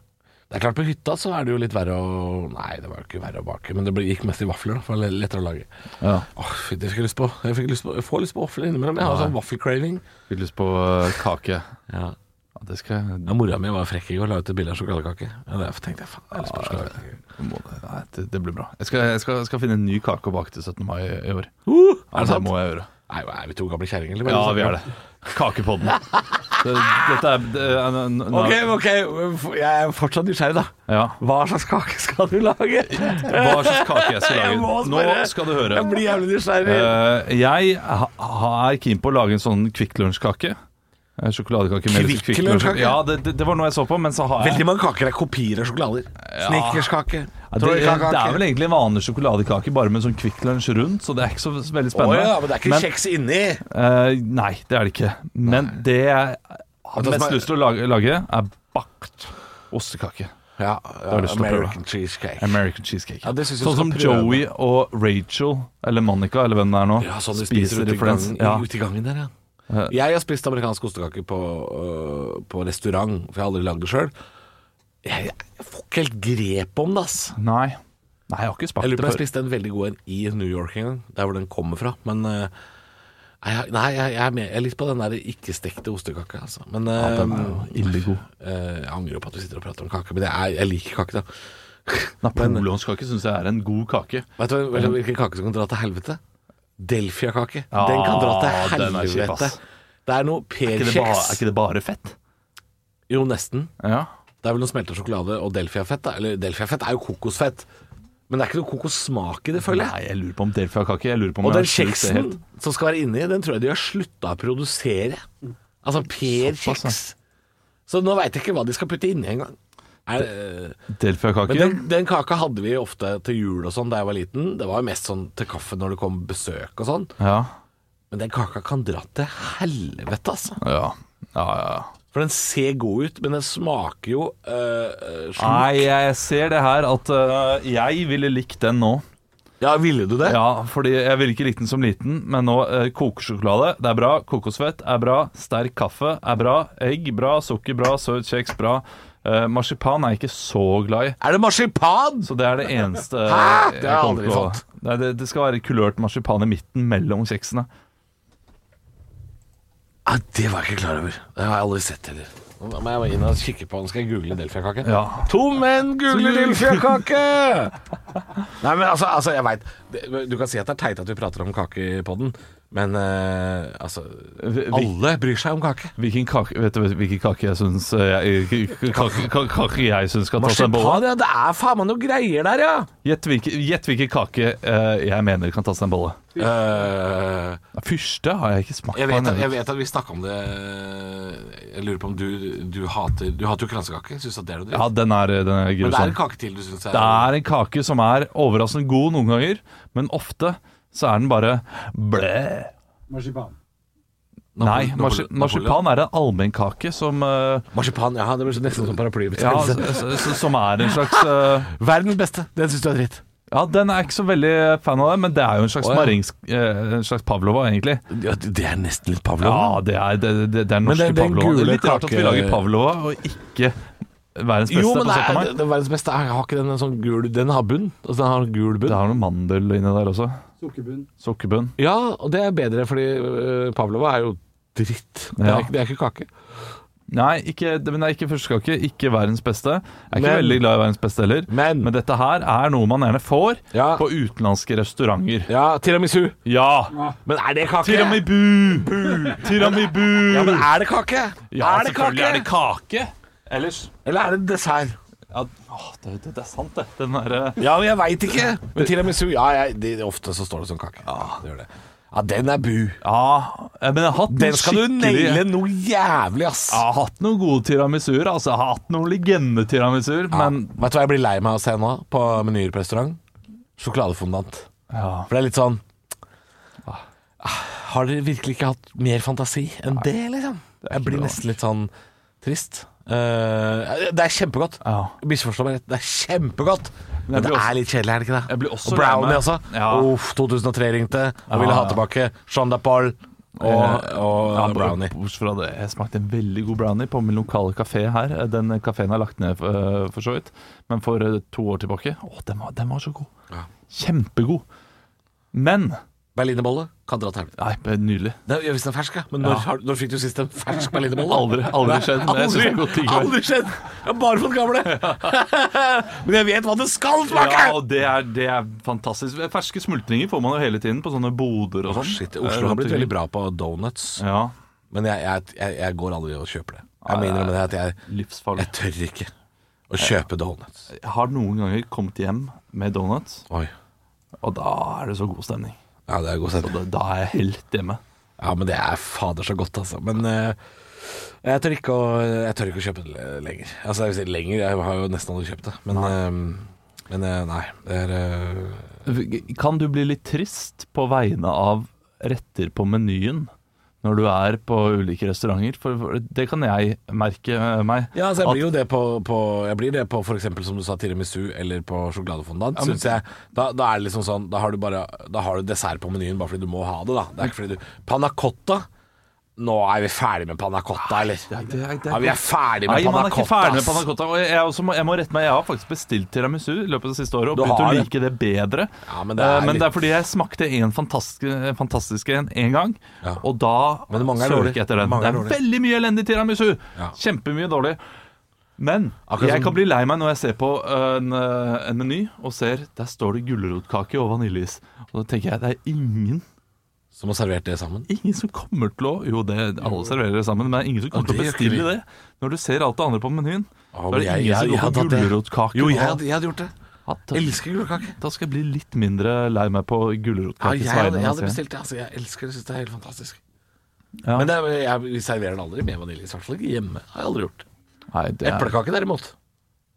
Speaker 3: Det er klart På hytta så er det jo litt verre å Nei, det var jo ikke verre å bake, men det ble- gikk mest i vafler. da, For det var lettere å lage.
Speaker 5: Ja.
Speaker 3: Åh, fy, det fikk jeg lyst på. Jeg, fikk lyst på. jeg får lyst på vafler innimellom. Jeg har sånn vaffelcraving.
Speaker 5: Fikk lyst på eh, kake.
Speaker 3: Ja.
Speaker 5: Ja, det skal jeg
Speaker 3: Ja, mora mi var frekk i går og la ut et bilde av sjokoladekake. Ja, det tenkte jeg, faen, jeg har lyst på sjokoladekake.
Speaker 5: må, Nei, det, det blir bra. Jeg skal, jeg, skal, skal finne en ny kake å bake til 17. mai i år.
Speaker 3: Uh,
Speaker 5: Ja,
Speaker 3: er det sant?
Speaker 5: må jeg gjøre.
Speaker 3: Nei, er vi to gamle kjerringer? eller?
Speaker 5: Ja, vi er det.
Speaker 3: <laughs>
Speaker 5: Kakepodden. Det, dette er, det er en- en-
Speaker 3: Ok, ok, jeg er fortsatt nysgjerrig, da.
Speaker 5: Ja.
Speaker 3: Hva slags kake skal du lage?
Speaker 5: Hva slags kake jeg skal
Speaker 3: Jeg må
Speaker 5: lage. Nå
Speaker 3: spørre.
Speaker 5: skal du høre.
Speaker 3: Jeg blir jævlig nysgjerrig.
Speaker 5: Eh, jeg ha, ha- er keen på å lage en sånn Kvikk Lunsj-kake. Eh, Sjokoladekake med litt
Speaker 3: Kvikk
Speaker 5: Kvikk Lunsj.
Speaker 3: Lunsj-kake?
Speaker 5: Ja, det, det, det var noe jeg så på, men så har jeg
Speaker 3: Veldig mange kaker er kopier av sjokolader. Snickerskake.
Speaker 5: Ja, det, det er vel egentlig en vanlig sjokoladekake, bare med en sånn Kvikk Lunsj rundt, så det er ikke så veldig
Speaker 3: Å
Speaker 5: spennende.
Speaker 3: ja, men det er ikke kjeks inni.
Speaker 5: eh, nei, det er det ikke. Men det jeg har
Speaker 3: det Altså, som
Speaker 5: mest
Speaker 3: er-
Speaker 5: lyst til å lage, lage er bakt ostekake.
Speaker 3: Ja, ja,
Speaker 5: har jeg lyst til å
Speaker 3: American cheesecake.
Speaker 5: American cheesecake.
Speaker 3: Ja, det synes jeg
Speaker 5: sånn
Speaker 3: du
Speaker 5: som
Speaker 3: skal prøve.
Speaker 5: Joey og Rachel, eller Monica, eller hvem det er nå,
Speaker 3: Ja, sånn du spiser, ute, i
Speaker 5: Friends.
Speaker 3: gangen,
Speaker 5: Ja.
Speaker 3: ute i gangen der, ja. Jeg har spist amerikansk ostekake på, øh, på restaurant, for jeg har aldri lagd det sjøl. Jeg, jeg får ikke helt grep om det, ass.
Speaker 5: Nei. nei, jeg har ikke
Speaker 3: Jeg
Speaker 5: smakt
Speaker 3: lurer på
Speaker 5: det
Speaker 3: om jeg
Speaker 5: før.
Speaker 3: spiste en veldig god en i New York en gang, der hvor den kommer fra. Men eh, nei, jeg- nei jeg, jeg, er med, jeg er litt på den der ikke-stekte ostekaka, altså. Men eh,
Speaker 5: Den er jo ille god.
Speaker 3: eh, jeg angrer jo på at vi sitter og prater om kake, men jeg, er, jeg liker kake, da.
Speaker 5: Napoleonskake syns jeg er en god kake.
Speaker 3: Vet du hva- vet du hvilken kake som kan dra til helvete? Delfia-kake. den kan dra til
Speaker 5: Ah, den er kjip,
Speaker 3: helvete.
Speaker 5: ass.
Speaker 3: Det er noe
Speaker 5: Er ikke det bare,
Speaker 3: per-kjeks.
Speaker 5: fett?
Speaker 3: Jo, nesten.
Speaker 5: Ja.
Speaker 3: Det er vel noe smelta sjokolade og delfiafett. da. Eller delfiafett er jo kokosfett. Men det er ikke noe kokossmak i det, føler jeg.
Speaker 5: Nei, jeg lurer på om delfiakake. Jeg lurer på om
Speaker 3: Og den
Speaker 5: jeg har skjult det
Speaker 3: kjeksen
Speaker 5: helt.
Speaker 3: som skal være inni, den tror jeg de har slutta å produsere. Altså Per
Speaker 5: Såpass,
Speaker 3: Kjeks. Så nå veit jeg ikke hva de skal putte inni engang. Er, eh, Men
Speaker 5: Delfiakake?
Speaker 3: den, den kaka hadde vi ofte til jul og sånn da jeg var liten. Det var jo mest sånn til kaffe når det kom besøk og sånn.
Speaker 5: Ja.
Speaker 3: Men den kaka kan dra til helvete, altså.
Speaker 5: Ja. ja, ja.
Speaker 3: For den ser god ut, men den smaker jo uh,
Speaker 5: Nei, jeg ser det her at øh, jeg ville likt den nå.
Speaker 3: Ja, ville du det?
Speaker 5: Ja, fordi jeg ville ikke likt den som liten, men nå øh, kokesjokolade, det er bra. Kokosfett er bra. Sterk kaffe er bra. Egg bra. Sukker bra. Søt kjeks bra. Eh, marsipan er jeg ikke så glad i.
Speaker 3: Er det marsipan?
Speaker 5: Så det er det eneste
Speaker 3: Hæ? Det har jeg
Speaker 5: kommer
Speaker 3: aldri
Speaker 5: til å-
Speaker 3: fått.
Speaker 5: Nei, det, det skal være kulørt marsipan i midten mellom kjeksene.
Speaker 3: Ja, det var jeg ikke klar over. Det har jeg aldri sett heller. Nå må jeg inn og kikke på den. Skal jeg google delfiakake?
Speaker 5: Ja.
Speaker 3: To menn gule delfiakake! Nei, men altså, altså jeg veit Du kan si at det er teit at vi prater om kake i podden, men eh, altså
Speaker 5: Vi- vi-
Speaker 3: Alle bryr seg om kake.
Speaker 5: Hvilken kake, vet du hvilken kake jeg syns eh, jeg, kake, kake, kake jeg syns skal ta seg en bolle?
Speaker 3: Marsipan, ja. Det er faen meg noe greier der, ja.
Speaker 5: Gjett hvilken, gjett hvilken kake eh, jeg mener kan ta seg en bolle.
Speaker 3: Eh,
Speaker 5: Fyrste har jeg ikke smakt
Speaker 3: jeg, vet,
Speaker 5: på.
Speaker 3: at- jeg
Speaker 5: ennå.
Speaker 3: vet at vi snakka om det Jeg lurer på om du, du hater Du hater jo kransekake. Syns at det er noe dritt.
Speaker 5: Ja, den er, den er
Speaker 3: men det er
Speaker 5: grusom.
Speaker 3: en kake til du syns er
Speaker 5: sånn- Det er en kake som er overraskende god noen ganger, men ofte så er den bare blæ.
Speaker 11: Marsipan.
Speaker 5: Nei,
Speaker 3: Napole-
Speaker 5: marsi,
Speaker 3: Napole-
Speaker 5: marsipan er en allmennkake som eh,
Speaker 3: Marsipan, ja. Det blir <laughs> så- nesten som
Speaker 5: Ja, altså,
Speaker 3: paraplybetennelse.
Speaker 5: s- s- som er en slags eh,
Speaker 3: Verdens beste. Den syns du er dritt.
Speaker 5: Ja, den er jeg ikke så veldig fan av det, men det er jo en slags,
Speaker 3: Å, ja.
Speaker 5: marings, eh, en slags Pavlova, egentlig.
Speaker 3: Ja, det er nesten litt
Speaker 5: Ja,
Speaker 3: Pavlov.
Speaker 5: det er, det, det, det er norske
Speaker 3: den- den
Speaker 5: Pavlova. Det er
Speaker 3: gule
Speaker 5: litt rart at vi
Speaker 3: kake-
Speaker 5: lager Pavlova og ikke verdens beste
Speaker 3: jo, men
Speaker 5: på
Speaker 3: det
Speaker 5: 17. mai.
Speaker 3: er, det, verdens beste er, har ikke den en sånn gul Den har bunn. Altså, den har en gul bunn.
Speaker 5: Det har noe mandel inni der også.
Speaker 11: Sukkerbunn.
Speaker 5: Sukkerbunn.
Speaker 3: Ja, og det er bedre, fordi øh, Pavlova er jo dritt. Det er,
Speaker 5: Ja.
Speaker 3: ikke- det er ikke kake.
Speaker 5: Nei, ikke, det- men det er ikke førstekake. Ikke verdens beste. Jeg er ikke
Speaker 3: Men-
Speaker 5: veldig glad i verdens beste heller.
Speaker 3: Men-
Speaker 5: dette her er noe man gjerne får
Speaker 3: Ja.
Speaker 5: på utenlandske restauranter.
Speaker 3: Ja, tiramisu.
Speaker 5: Ja!
Speaker 3: Men er det kake? <laughs>
Speaker 5: Tiramibu! Tiramibu!
Speaker 3: Ja, men er det kake?
Speaker 5: Ja,
Speaker 3: er det
Speaker 5: selvfølgelig
Speaker 3: kake?
Speaker 5: er det kake. Ellers
Speaker 3: Eller er det dessert?
Speaker 5: ja, åh, det, det, det er sant, det. Den eh, derre
Speaker 3: Ja, men jeg veit ikke. Men tiramisu, ja, jeg, det, ofte så står det som kake. Ja, det gjør det. Ja, den er bu.
Speaker 5: Ja, men jeg har hatt
Speaker 3: Den
Speaker 5: noen
Speaker 3: skal du
Speaker 5: skikkelig-
Speaker 3: naile noe jævlig, ass.
Speaker 5: Jeg har hatt noen gode tiramisuer. Altså, jeg har hatt noen legendetiramisur, men
Speaker 3: Vet du hva jeg blir lei meg av å se nå på menyer på restaurant? Sjokoladefondant.
Speaker 5: Ja.
Speaker 3: For det er litt sånn ah, Har dere virkelig ikke hatt mer fantasi enn det, liksom? Jeg blir nesten litt sånn trist. Eh, det er kjempegodt.
Speaker 5: Ja.
Speaker 3: Misforstå meg rett, det er kjempegodt. Men det
Speaker 5: blir også-
Speaker 3: er litt kjedelig, er det ikke det?
Speaker 5: Jeg blir også
Speaker 3: og Brownie,
Speaker 5: lei meg.
Speaker 3: altså.
Speaker 5: Ja.
Speaker 3: Uff, 2003 ringte og ville ha tilbake Jean d'Apol og, og
Speaker 5: Ja,
Speaker 3: brownie.
Speaker 5: Bortsett fra det, jeg smakte en veldig god brownie på min lokale kafé her. Den kafeen har lagt ned eh, for så vidt, men for eh, to år tilbake Å, den var, den var så god. Kjempegod. Men
Speaker 3: Berlinerbolle kan dra til helvete.
Speaker 5: Nei, men nydelig.
Speaker 3: Det er- Hvis den er fersk, ja. Men når, har- når fikk du sist en
Speaker 5: <laughs>
Speaker 3: fersk berlinerbolle?
Speaker 5: Aldri, aldri skjedd. Men jeg synes det er godt
Speaker 3: Aldri,
Speaker 5: likevel.
Speaker 3: aldri skjedd! Jeg har bare fått gamle. <laughs> Men jeg vet hva det skal smake!
Speaker 5: Ja, og det er, det er fantastisk. Ferske smultringer får man jo hele tiden på sånne boder og sånn.
Speaker 3: Shit, Oslo har blitt veldig bra på donuts.
Speaker 5: Ja.
Speaker 3: Men jeg, jeg, jeg, jeg går aldri og kjøper det. Jeg må innrømme det at jeg,
Speaker 5: Livsfarlig.
Speaker 3: jeg tør ikke å kjøpe donuts.
Speaker 5: Jeg har noen ganger kommet hjem med donuts,
Speaker 3: Oi.
Speaker 5: og da er det så god stemning.
Speaker 3: Ja, det er god
Speaker 5: Og
Speaker 3: stemning.
Speaker 5: da, da er jeg helt hjemme.
Speaker 3: Ja, men det er fader så godt, altså. Men eh, jeg, tør ikke å, jeg tør ikke å kjøpe det le- lenger. Altså, jeg vil si lenger, jeg har jo nesten aldri kjøpt det. Men nei, men, eh, nei det er eh,
Speaker 5: Kan du bli litt trist på vegne av retter på menyen når du er på ulike restauranter? For for det kan jeg merke eh, meg.
Speaker 3: Ja, altså jeg
Speaker 5: At-
Speaker 3: blir jo det på, på Jeg blir det på for eksempel som du sa tiramisu eller på sjokoladefondant
Speaker 5: men-
Speaker 3: Synes jeg da, da er det liksom sånn Da har du bare Da har du dessert på menyen Bare fordi du må ha det da Det er ikke fordi du Panna cotta Nå er vi ferdige med panna cotta, eller? Ja, vi er ferdige
Speaker 5: Nei,
Speaker 3: med
Speaker 5: man
Speaker 3: panna
Speaker 5: er ikke
Speaker 3: cotta
Speaker 5: ferdig med
Speaker 3: ass.
Speaker 5: panna cotta. Og jeg, jeg, også må, jeg må rette meg, jeg har faktisk bestilt tiramisu i løpet av det siste året og
Speaker 3: Du
Speaker 5: begynt å
Speaker 3: har det.
Speaker 5: like det bedre.
Speaker 3: Ja, men det er
Speaker 5: Eh, men
Speaker 3: litt-
Speaker 5: det er fordi jeg smakte en fantastisk, fantastisk en en gang,
Speaker 3: Ja.
Speaker 5: og da
Speaker 3: Men mange er
Speaker 5: søler
Speaker 3: dårlig.
Speaker 5: ikke etter den.
Speaker 3: Mange er
Speaker 5: det er
Speaker 3: dårlig.
Speaker 5: veldig mye elendig tiramisu.
Speaker 3: Ja.
Speaker 5: Kjempemye dårlig. Men
Speaker 3: Akkurat
Speaker 5: jeg
Speaker 3: som-
Speaker 5: kan bli lei meg når jeg ser på en, eh, en meny og ser der står det gulrotkake og vaniljeis. Og da tenker jeg det er ingen
Speaker 3: Som har servert det sammen
Speaker 5: ingen som kommer til å Jo, det alle serverer det sammen, men det er ingen som kommer
Speaker 3: Ja,
Speaker 5: til å
Speaker 3: det gjør ikke
Speaker 5: bestille
Speaker 3: vi.
Speaker 5: det. Når du ser alt det andre på menyen,
Speaker 3: Å,
Speaker 5: da
Speaker 3: men
Speaker 5: er det
Speaker 3: jeg-
Speaker 5: ingen
Speaker 3: jeg- jeg
Speaker 5: som
Speaker 3: hadde
Speaker 5: går
Speaker 3: hatt
Speaker 5: for
Speaker 3: det.
Speaker 5: gulrotkake.
Speaker 3: Jo,
Speaker 5: nå.
Speaker 3: jeg hadde, jeg hadde gjort det
Speaker 5: Ja, da-
Speaker 3: Elsker gulrotkake
Speaker 5: Da skal jeg bli litt mindre lei meg på
Speaker 3: ja,
Speaker 5: gulrotkakes
Speaker 3: jeg,
Speaker 5: vegne.
Speaker 3: hadde, jeg hadde
Speaker 5: altså.
Speaker 3: bestilt det, altså Jeg elsker det, synes det er helt fantastisk
Speaker 5: Ja.
Speaker 3: Men det er, jeg, vi serverer det aldri med vanilje I hvert fall ikke hjemme Har jeg aldri gjort
Speaker 5: Nei, det er,
Speaker 3: Eplekake derimot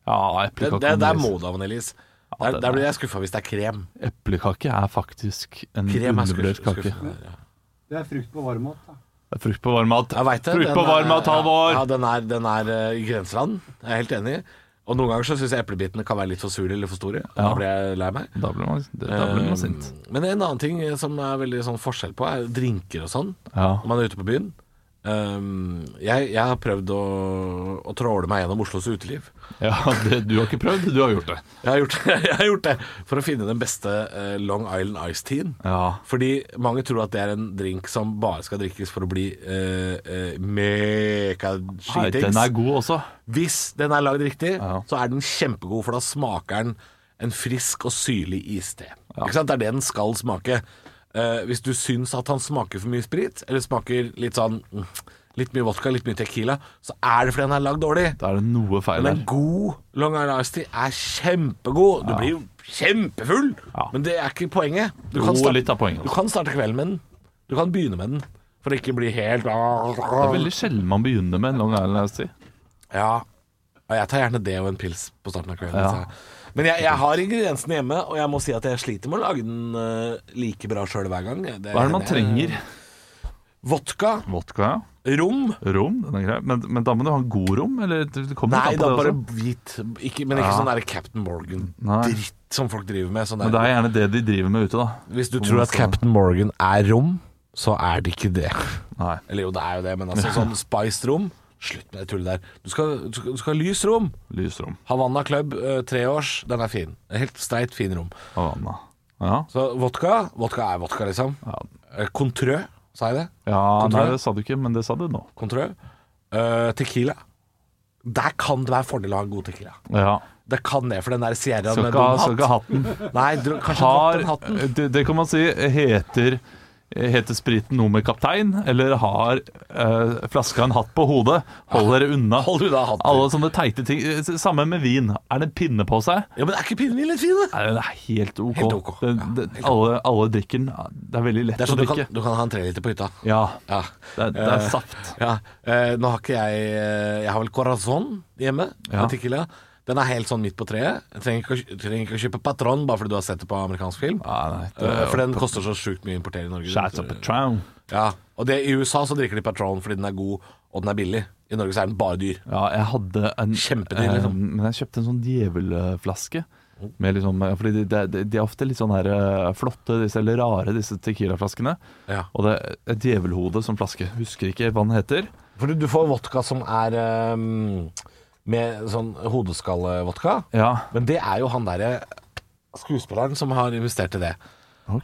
Speaker 5: ja,
Speaker 3: det,
Speaker 5: eplekake,
Speaker 3: det, Der
Speaker 5: med
Speaker 3: må
Speaker 5: is.
Speaker 3: du ha vaniljeis
Speaker 5: Ja,
Speaker 3: der,
Speaker 5: den
Speaker 3: der blir
Speaker 5: er-
Speaker 3: jeg skuffet hvis det er krem
Speaker 5: eplekake er faktisk en
Speaker 3: Krem er skuff-
Speaker 5: undervurdert kake.
Speaker 3: skuffende, ja.
Speaker 11: Det er frukt på varm mat. da.
Speaker 5: Det er Frukt på varm mat.
Speaker 3: Jeg vet det.
Speaker 5: Frukt
Speaker 3: den
Speaker 5: på
Speaker 3: er-
Speaker 5: varm mat, Halvor!
Speaker 3: Ja, den er, den er eh, i grenseland. Jeg er helt enig. Og noen ganger så syns jeg eplebitene kan være litt for sure eller for store. Da
Speaker 5: Ja.
Speaker 3: blir jeg lei meg.
Speaker 5: Da blir man, det- da blir man sint.
Speaker 3: Eh, Men en annen ting som er veldig sånn forskjell på, er drinker og sånn.
Speaker 5: Ja.
Speaker 3: Når man er ute på byen. Eh, jeg, jeg har prøvd å, å tråle meg gjennom Oslos uteliv.
Speaker 5: ja <laughs> det, du har ikke prøvd, du har gjort det.
Speaker 3: Jeg har gjort, <laughs> jeg har gjort det for å finne den beste eh, Long Island Ice-teen.
Speaker 5: Ja.
Speaker 3: Fordi mange tror at det er en drink som bare skal drikkes for å bli eh, eh, meka
Speaker 5: Nei, den
Speaker 3: skitings.
Speaker 5: er god også.
Speaker 3: Hvis den er lagd riktig,
Speaker 5: Ja.
Speaker 3: så er den kjempegod, for da smaker den en frisk og syrlig iste. Ikke sant? Det er det den skal smake. Eh, hvis du syns at han smaker for mye sprit, eller smaker litt sånn mm, Litt mye vodka, litt mye tequila, så er det fordi den er lagd dårlig.
Speaker 5: Da er det noe feil
Speaker 3: Men en
Speaker 5: her.
Speaker 3: god Long Island Ice Tea er kjempegod. Du blir jo kjempefull,
Speaker 5: Ja.
Speaker 3: men det er ikke poenget. Du
Speaker 5: Jo, litt av poenget altså.
Speaker 3: du
Speaker 5: også.
Speaker 3: kan starte kvelden med den. Du kan begynne med den, for å ikke bli helt
Speaker 5: Det er veldig sjelden man begynner med en Long Island Ice Tea.
Speaker 3: Ja, og jeg tar gjerne det og en pils på starten av kvelden.
Speaker 5: Ja.
Speaker 3: så jeg- Men jeg, jeg har ingrediensene hjemme, og jeg må si at jeg sliter med å lage den eh, like bra sjøl hver gang.
Speaker 5: Hva er det man trenger?
Speaker 3: Vodka,
Speaker 5: Vodka, ja.
Speaker 3: rom.
Speaker 5: Rom, den er grei. Men, men da må du ha en god rom? Eller det det kommer
Speaker 3: Nei,
Speaker 5: litt an
Speaker 3: da
Speaker 5: på det
Speaker 3: bare
Speaker 5: også.
Speaker 3: hvit. Ikke, men ikke
Speaker 5: Ja.
Speaker 3: sånn der Captain Morgan-dritt som folk driver med. Sånn
Speaker 5: Men det
Speaker 3: der.
Speaker 5: er gjerne det de driver med ute, da.
Speaker 3: Hvis du tror at Captain Morgan er rom, så er det ikke det.
Speaker 5: Nei.
Speaker 3: Eller jo, det er jo det, men altså sånn spiced rom Slutt med det tullet der. Du skal, du skal, du skal ha lys rom.
Speaker 5: Lysrom.
Speaker 3: Havanna Club, eh, treårs. Den er fin. Helt streit, fin rom.
Speaker 5: Havana. Ja.
Speaker 3: Så vodka, vodka er vodka, liksom.
Speaker 5: Ja.
Speaker 3: Eh, Contrø, sa jeg det?
Speaker 5: ja nei,
Speaker 3: Kontroll?
Speaker 5: det sa du ikke, men det sa du nå.
Speaker 3: Contrø. Eh, tequila. Der kan det være fordel å ha en god tequila.
Speaker 5: Ja.
Speaker 3: Det kan det, for den der Sierra
Speaker 5: Skal
Speaker 3: med
Speaker 5: ikke ha-
Speaker 3: dum
Speaker 5: skal ikke ha
Speaker 3: hatt.
Speaker 5: hatten.
Speaker 3: Nei, dro, kanskje
Speaker 5: Har,
Speaker 3: den hatten.
Speaker 5: det, det kan man si heter Heter spriten noe med kaptein, eller har eh, flaska en hatt på hodet? Hold dere unna.
Speaker 3: Hold unna hatten.
Speaker 5: Alle sånne teite ting. Eh, Samme med vin. Er det en pinne på seg?
Speaker 3: Ja, men er ikke pinnevin litt fin, da?
Speaker 5: Nei, den er helt ok.
Speaker 3: Helt ok.
Speaker 5: Den,
Speaker 3: Ja,
Speaker 5: den, alle, alle drikker den. Det er veldig lett
Speaker 3: Det er sånn
Speaker 5: å
Speaker 3: du kan,
Speaker 5: drikke.
Speaker 3: du kan ha en treliter på hytta.
Speaker 5: Ja,
Speaker 3: Ja.
Speaker 5: det, er- det er
Speaker 3: Eh,
Speaker 5: saft.
Speaker 3: ja. Eh, nå har ikke jeg eh, Jeg har vel corazon hjemme.
Speaker 5: Ja.
Speaker 3: med Tequila. Den er helt sånn midt på treet. Jeg trenger ikke, å- trenger ikke å kjøpe patron bare fordi du har sett det på amerikansk film.
Speaker 5: Ja, nei, det
Speaker 3: Eh,
Speaker 5: er
Speaker 3: for den koster så sjukt mye å importere i Norge.
Speaker 5: Shots of Patron.
Speaker 3: Ja, og det, I USA så drikker de Patron fordi den er god og den er billig. I Norge så er den bare dyr.
Speaker 5: Ja, jeg hadde en
Speaker 3: Kjempedyr,
Speaker 5: eh,
Speaker 3: liksom. Oh.
Speaker 5: Men jeg kjøpte en sånn djevelflaske. Med liksom, eh, fordi de, de, de er ofte litt sånn her eh, flotte, disse, eller rare, disse Tequila-flaskene.
Speaker 3: Ja.
Speaker 5: Og det er et djevelhode som flaske. Husker ikke hva den heter.
Speaker 3: For du, du får vodka som er ehm, med sånn hodeskallevodka.
Speaker 5: Ja,
Speaker 3: Men det er jo han derre skuespilleren som har investert i det.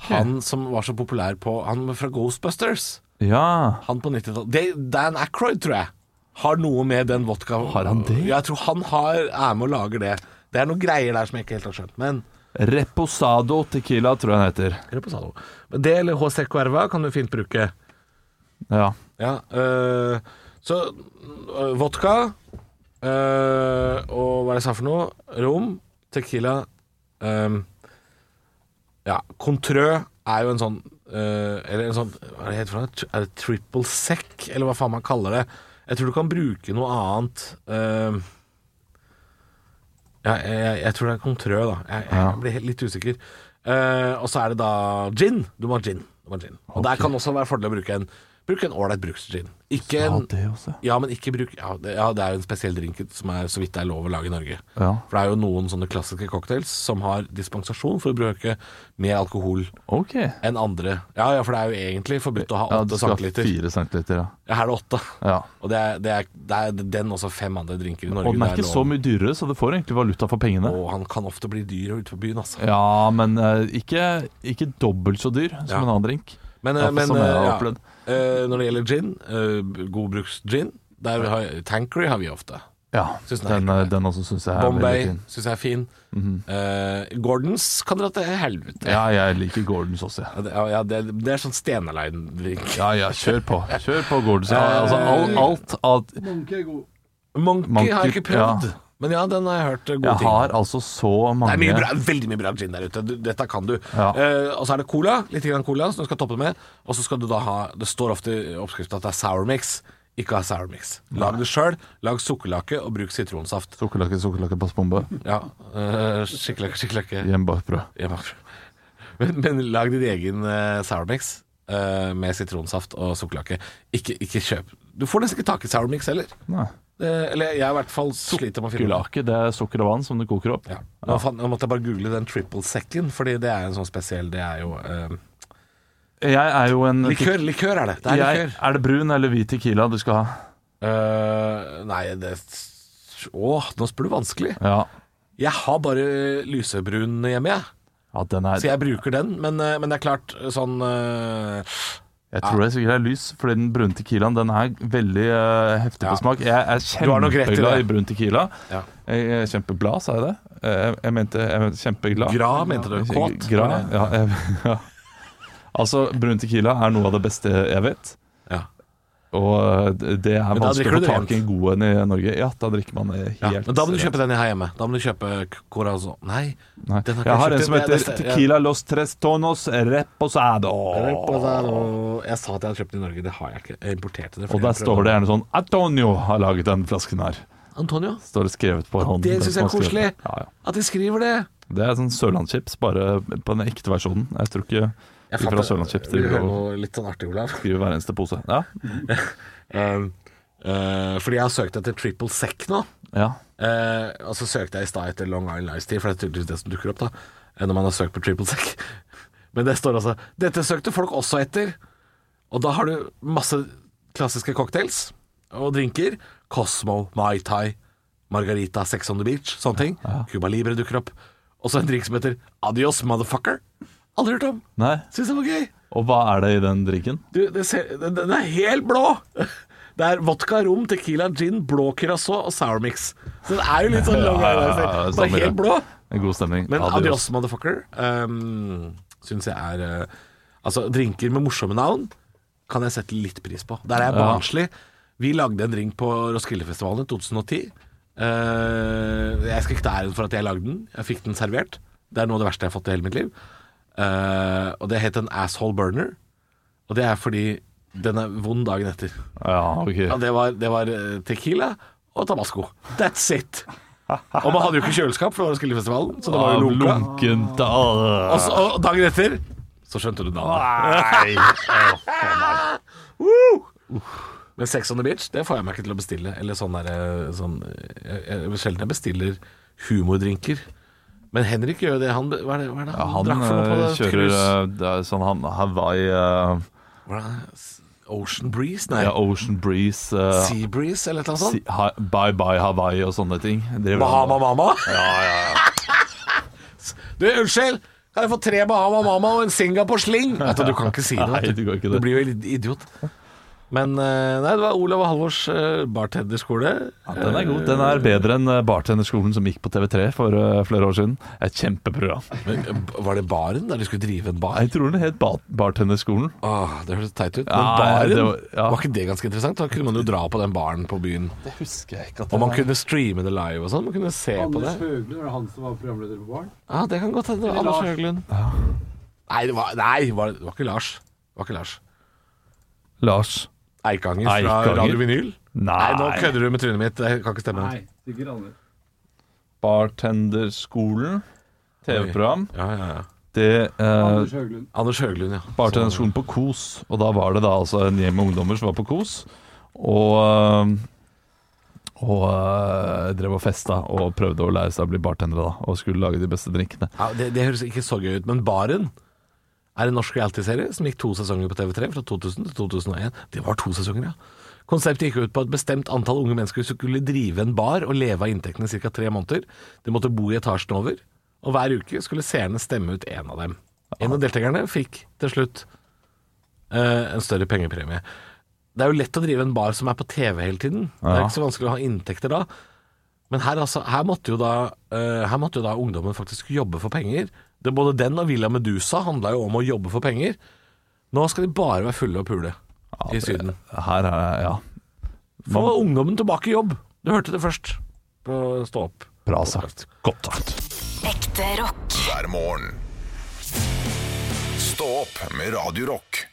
Speaker 3: Han som var så populær på Han fra Ghostbusters.
Speaker 5: ja.
Speaker 3: Han på 90-tallet. Det- Dan Ackroyd, tror jeg, har noe med den vodka
Speaker 5: Har han det?
Speaker 3: Jeg tror han har, er med og lager det. Det er noen greier der som jeg ikke helt har skjønt. Men
Speaker 5: Reposado Tequila, tror jeg den heter.
Speaker 3: Reposado. Men Det eller HC Cuerva kan du fint bruke.
Speaker 5: Ja.
Speaker 3: Ja, øh, så øh, vodka øh, og hva er det jeg sa for noe? Rom, tequila øhm, Ja, Contrø er jo en sånn øh, Eller en sånn Hva er det heter for noe? Tri- Er det triple sec, eller hva faen man kaller det? Jeg tror du kan bruke noe annet. eh, øhm, ja, jeg, jeg, jeg tror det er Contrø, da. Jeg, jeg blir helt- litt usikker. Eh, og så er det da gin. Du må ha gin. Du må ha gin. Og der kan også være fordel å bruke en Bruk en ålreit bruksgin. Ikke en Ja, men ikke bruk ja det, ja, det er jo en spesiell drink som er så vidt det er lov å lage i Norge.
Speaker 5: Ja.
Speaker 3: For det er jo noen sånne klassiske cocktails som har dispensasjon for å bruke mer alkohol enn andre. Ja, ja, for det er jo egentlig forbudt å ha
Speaker 5: Ja,
Speaker 3: åtte
Speaker 5: du skal ha
Speaker 3: centiliter.
Speaker 5: fire centiliter, ja.
Speaker 3: Ja, her er det åtte.
Speaker 5: Ja.
Speaker 3: Og det er, det, er, det er den også fem andre drinker i Norge.
Speaker 5: Og den
Speaker 3: det
Speaker 5: er ikke så
Speaker 3: lov.
Speaker 5: mye dyrere, så du får egentlig valuta for pengene.
Speaker 3: Og han kan ofte bli dyr ute på byen, altså.
Speaker 5: Ja, men eh, ikke, ikke dobbelt så dyr
Speaker 3: Ja.
Speaker 5: som en annen drink.
Speaker 3: Men,
Speaker 5: Ja,
Speaker 3: eh,
Speaker 5: for
Speaker 3: men
Speaker 5: som jeg har
Speaker 3: eh, ja.
Speaker 5: opplevd.
Speaker 3: Eh, når det gjelder gin, eh, god bruksgin, der har jeg- Tankery har vi ofte.
Speaker 5: Ja,
Speaker 3: Synes den er
Speaker 5: den,
Speaker 3: helt
Speaker 5: eh,
Speaker 3: grei.
Speaker 5: den også syns jeg er
Speaker 3: Bombay
Speaker 5: veldig fin. Mhm.
Speaker 3: syns jeg er fin. Eh, Gordons kan dra til helvete.
Speaker 5: Ja, jeg liker Gordons også, jeg.
Speaker 3: Ja, det, ja, det, det er sånn Stenaline-drink.
Speaker 5: Ja, ja, kjør på. Kjør på Gordons. Ja, altså,
Speaker 3: Eh,
Speaker 5: alt, alt av
Speaker 11: Monkey er god.
Speaker 3: Monkey, har jeg
Speaker 5: Monkey,
Speaker 3: ikke prøvd,
Speaker 5: ja.
Speaker 3: men ja, den har jeg hørt eh, gode
Speaker 5: Jeg
Speaker 3: ting.
Speaker 5: har altså så
Speaker 3: Det
Speaker 5: mange
Speaker 3: er mye bra, veldig mye bra gin der ute. Du, dette kan du.
Speaker 5: Ja.
Speaker 3: Eh, og så er det cola. Litt grann cola som du skal toppe det med. Og så skal du da ha Det står ofte i oppskriften at det er sour mix. Ikke ha sour mix. Lag det sjøl. Lag sukkerlake og bruk sitronsaft.
Speaker 5: Sukkerlake, sukkerlake, passbombe.
Speaker 3: Ja, uh, skikkelig, skikkelig
Speaker 5: Hjemmebakt brød.
Speaker 3: Men, men lag din egen eh, sour mix eh, med sitronsaft og sukkerlake. Ikke, ikke kjøp Du får nesten ikke tak i sour mix heller.
Speaker 5: Nei.
Speaker 3: Eh, eller jeg i hvert fall sliter med å finne
Speaker 5: Sukkerlake, det er sukker og vann som du koker opp.
Speaker 3: Ja. Nå, fant- nå måtte jeg bare google den triple second, fordi det er en sånn spesiell Det er jo eh,
Speaker 5: Jeg er jo en
Speaker 3: Likør! Likør er det. Det er
Speaker 5: Jeg,
Speaker 3: likør.
Speaker 5: er det brun eller hvit tequila du skal ha?
Speaker 3: Eh, nei, det Å, nå spør du vanskelig.
Speaker 5: Ja,
Speaker 3: Jeg har bare lysebrun hjemme, jeg.
Speaker 5: ja den er
Speaker 3: Så jeg bruker den, men, eh, men det er klart sånn eh,
Speaker 5: Jeg tror det sikkert er lys, fordi den brune tequilaen den er veldig eh, heftig
Speaker 3: Ja.
Speaker 5: på smak. Jeg er
Speaker 3: Du har nok rett i det.
Speaker 5: kjempeglad i brun tequila.
Speaker 3: Ja.
Speaker 5: Jeg er kjempeglad, sa jeg det? Eh, Jeg, jeg mente jeg mente kjempeglad.
Speaker 3: Gra, mente du? Kåt?
Speaker 5: Gra,
Speaker 3: var det?
Speaker 5: ja, jeg, <laughs> ja. Altså, brun tequila er noe av det beste jeg vet.
Speaker 3: Ja.
Speaker 5: Og eh, det er
Speaker 3: da drikker
Speaker 5: vanskelig
Speaker 3: du
Speaker 5: å få
Speaker 3: det
Speaker 5: tak i en god en i Norge. Ja, da drikker man eh,
Speaker 3: Ja,
Speaker 5: helt
Speaker 3: men da må du kjøpe den jeg har hjemme. Da må du kjøpe k- Corazon Nei.
Speaker 5: eh, Nei.
Speaker 3: den har
Speaker 5: Jeg har
Speaker 3: ikke
Speaker 5: en
Speaker 3: kjøpt
Speaker 5: som
Speaker 3: den. Det-
Speaker 5: heter
Speaker 3: det- ja.
Speaker 5: Tequila Los Tres Tonos Reposado.
Speaker 3: Jeg sa at jeg hadde kjøpt den i Norge. Det har jeg ikke. Jeg importerte det.
Speaker 5: Og der står det gjerne sånn Antonio har laget den flasken her.
Speaker 3: Antonio,
Speaker 5: Står det skrevet på hånden.
Speaker 3: det
Speaker 5: hvem
Speaker 3: syns
Speaker 5: som
Speaker 3: jeg er
Speaker 5: har skrevet
Speaker 3: koselig.
Speaker 5: den. Ja, ja.
Speaker 3: At de skriver det.
Speaker 5: Det er sånn Sørlandschips, bare på den ekte versjonen. Jeg tror ikke de fra Sørlandschips
Speaker 3: Vil du
Speaker 5: driver
Speaker 3: høre
Speaker 5: og
Speaker 3: noe litt sånn artig, Olav?
Speaker 5: skriver hver eneste pose. Ja,
Speaker 3: Um, eh, fordi jeg har søkt etter triple sec nå.
Speaker 5: ja.
Speaker 3: Eh, og så søkte jeg i stad etter Long Island Ice Tea, for det er tydeligvis det som dukker opp da eh, når man har søkt på triple sec. <laughs> Men det står altså Dette søkte folk også etter. Og da har du masse klassiske cocktails og drinker. Cosmo, Mai Tai, Margarita, Sex on the Beach, sånne ting. Cuba Libre dukker opp. Og så en drink som heter Adios Motherfucker. Aldri hørt om.
Speaker 5: Nei.
Speaker 3: Syns det var gøy.
Speaker 5: Og hva er det i den drinken?
Speaker 3: Du, det ser, den, den er helt blå! Det er vodka, rom, tequila, gin, blå curacao og sour mix. Så den er jo litt sånn lang
Speaker 5: <laughs> Ja, ja, ja,
Speaker 3: vei.
Speaker 5: ja,
Speaker 3: Bare
Speaker 5: samme
Speaker 3: helt
Speaker 5: det.
Speaker 3: blå.
Speaker 5: En god stemning.
Speaker 3: Men
Speaker 5: Adios.
Speaker 3: adios, motherfucker, um, syns jeg er eh, Altså, drinker med morsomme navn kan jeg sette litt pris på. Der er jeg barnslig. Vi lagde en drink på Roskildefestivalen i 2010. Eh, jeg skal ikke ta æren for at jeg lagde den. Jeg fikk den servert. Det er noe av det verste jeg har fått i hele mitt liv. Eh, og det het en asshole burner. Og det er fordi den er vond dagen etter.
Speaker 5: Ja, ok.
Speaker 3: Ja, det var, det var eh, tequila og tabasco. That's
Speaker 5: <laughs>
Speaker 3: it. Og man hadde jo ikke kjøleskap, for det var Roskildefestivalen, så det var
Speaker 5: Av
Speaker 3: jo lunka.
Speaker 5: lunkent ah.
Speaker 3: Og, så, og dagen etter så skjønte du navnet. <laughs>
Speaker 5: Nei.
Speaker 3: Men Sex on the Beach det får jeg meg ikke til å bestille. Eller sånn der, eh, sånn, jeg, jeg, Sjelden jeg bestiller humordrinker. Men Henrik gjør jo det. Han, hva er det, hva er det
Speaker 5: Ja,
Speaker 3: han,
Speaker 5: han
Speaker 3: drakk for noe på
Speaker 5: eh,
Speaker 3: det?
Speaker 5: kjører eh, det er sånn han Hawaii eh,
Speaker 3: Hva er det? Ocean Breeze? Nei, sånn.
Speaker 5: ja, Ocean Breeze eh,
Speaker 3: Sea Breeze eller noe sånt?
Speaker 5: si- ha, Bye Bye Hawaii og sånne ting. Driver han-
Speaker 3: Bahama Mama? <laughs> Du, unnskyld! Kan jeg få <laughs> tre Bahama Mama og en Singa på sling? Vet du, du kan ikke si det. vet
Speaker 5: Nei, du kan ikke det.
Speaker 3: du blir jo litt idiot. Men eh, nei, det var Olav og Halvors eh, bartenderskole.
Speaker 5: Ja, Den er god. Den er bedre enn eh, bartenderskolen som gikk på TV3 for eh, flere år siden. Et kjempeprogram.
Speaker 3: Men, eh, var det baren der de skulle drive en bar?
Speaker 5: Jeg tror den het ba- Bartenderskolen.
Speaker 3: Åh, det hørtes teit ut. Men
Speaker 5: Ja,
Speaker 3: baren,
Speaker 5: det
Speaker 3: var,
Speaker 5: var- ja.
Speaker 3: ikke det ganske interessant? Da kunne man jo dra på den baren på byen.
Speaker 5: Det husker jeg ikke
Speaker 3: Og man kunne streame det live og sånn. Man kunne se på det.
Speaker 11: Anders Høglund, var det han som var programleder på Barn?
Speaker 3: Ja, det kan godt hende. Anders Høglund. Nei, det var, nei, det var, det var ikke Lars. Det var ikke Lars.
Speaker 5: Lars.
Speaker 3: Eikanger fra
Speaker 5: Eikanger?
Speaker 3: Radio Vinyl?
Speaker 5: Nei,
Speaker 3: Nei, nå kødder du med trynet mitt. Det kan ikke stemme.
Speaker 11: Nei, sikkert Anders.
Speaker 5: Bartenderskolen. TV-program.
Speaker 3: Ja, ja, ja.
Speaker 5: Det eh,
Speaker 11: Anders Høglund.
Speaker 3: Anders Høglund, ja.
Speaker 5: Bartenderskolen på Kos. Og da var det da altså en gjeng med ungdommer som var på Kos. Og eh, og eh, drev og festa og prøvde å lære seg å bli bartendere. da Og skulle lage de beste drinkene.
Speaker 3: ja det, det høres ikke så gøy ut, men Baren er en norsk realityserie som gikk to sesonger på TV3 fra 2000 til 2001. Det var to sesonger, ja. Konseptet gikk ut på at et bestemt antall unge mennesker skulle drive en bar og leve av inntektene i ca. tre måneder. De måtte bo i etasjen over, og hver uke skulle seerne stemme ut en av dem. En av deltakerne fikk til slutt eh, en større pengepremie. Det er jo lett å drive en bar som er på TV hele tiden. Det er
Speaker 5: Ja.
Speaker 3: ikke så vanskelig å ha inntekter da. Men her, altså, her, måtte jo da, eh, her måtte jo da ungdommen faktisk jobbe for penger. Det, både den og Villa Medusa handla jo om å jobbe for penger. Nå skal de bare være fulle og pule i Syden.
Speaker 5: Her er ja,
Speaker 3: Få ungdommen tilbake i jobb! Du hørte det først på Stå opp.
Speaker 5: bra sagt. Godt sagt.
Speaker 2: Ekte rock.
Speaker 1: hver morgen. Stå opp med Radio Rock.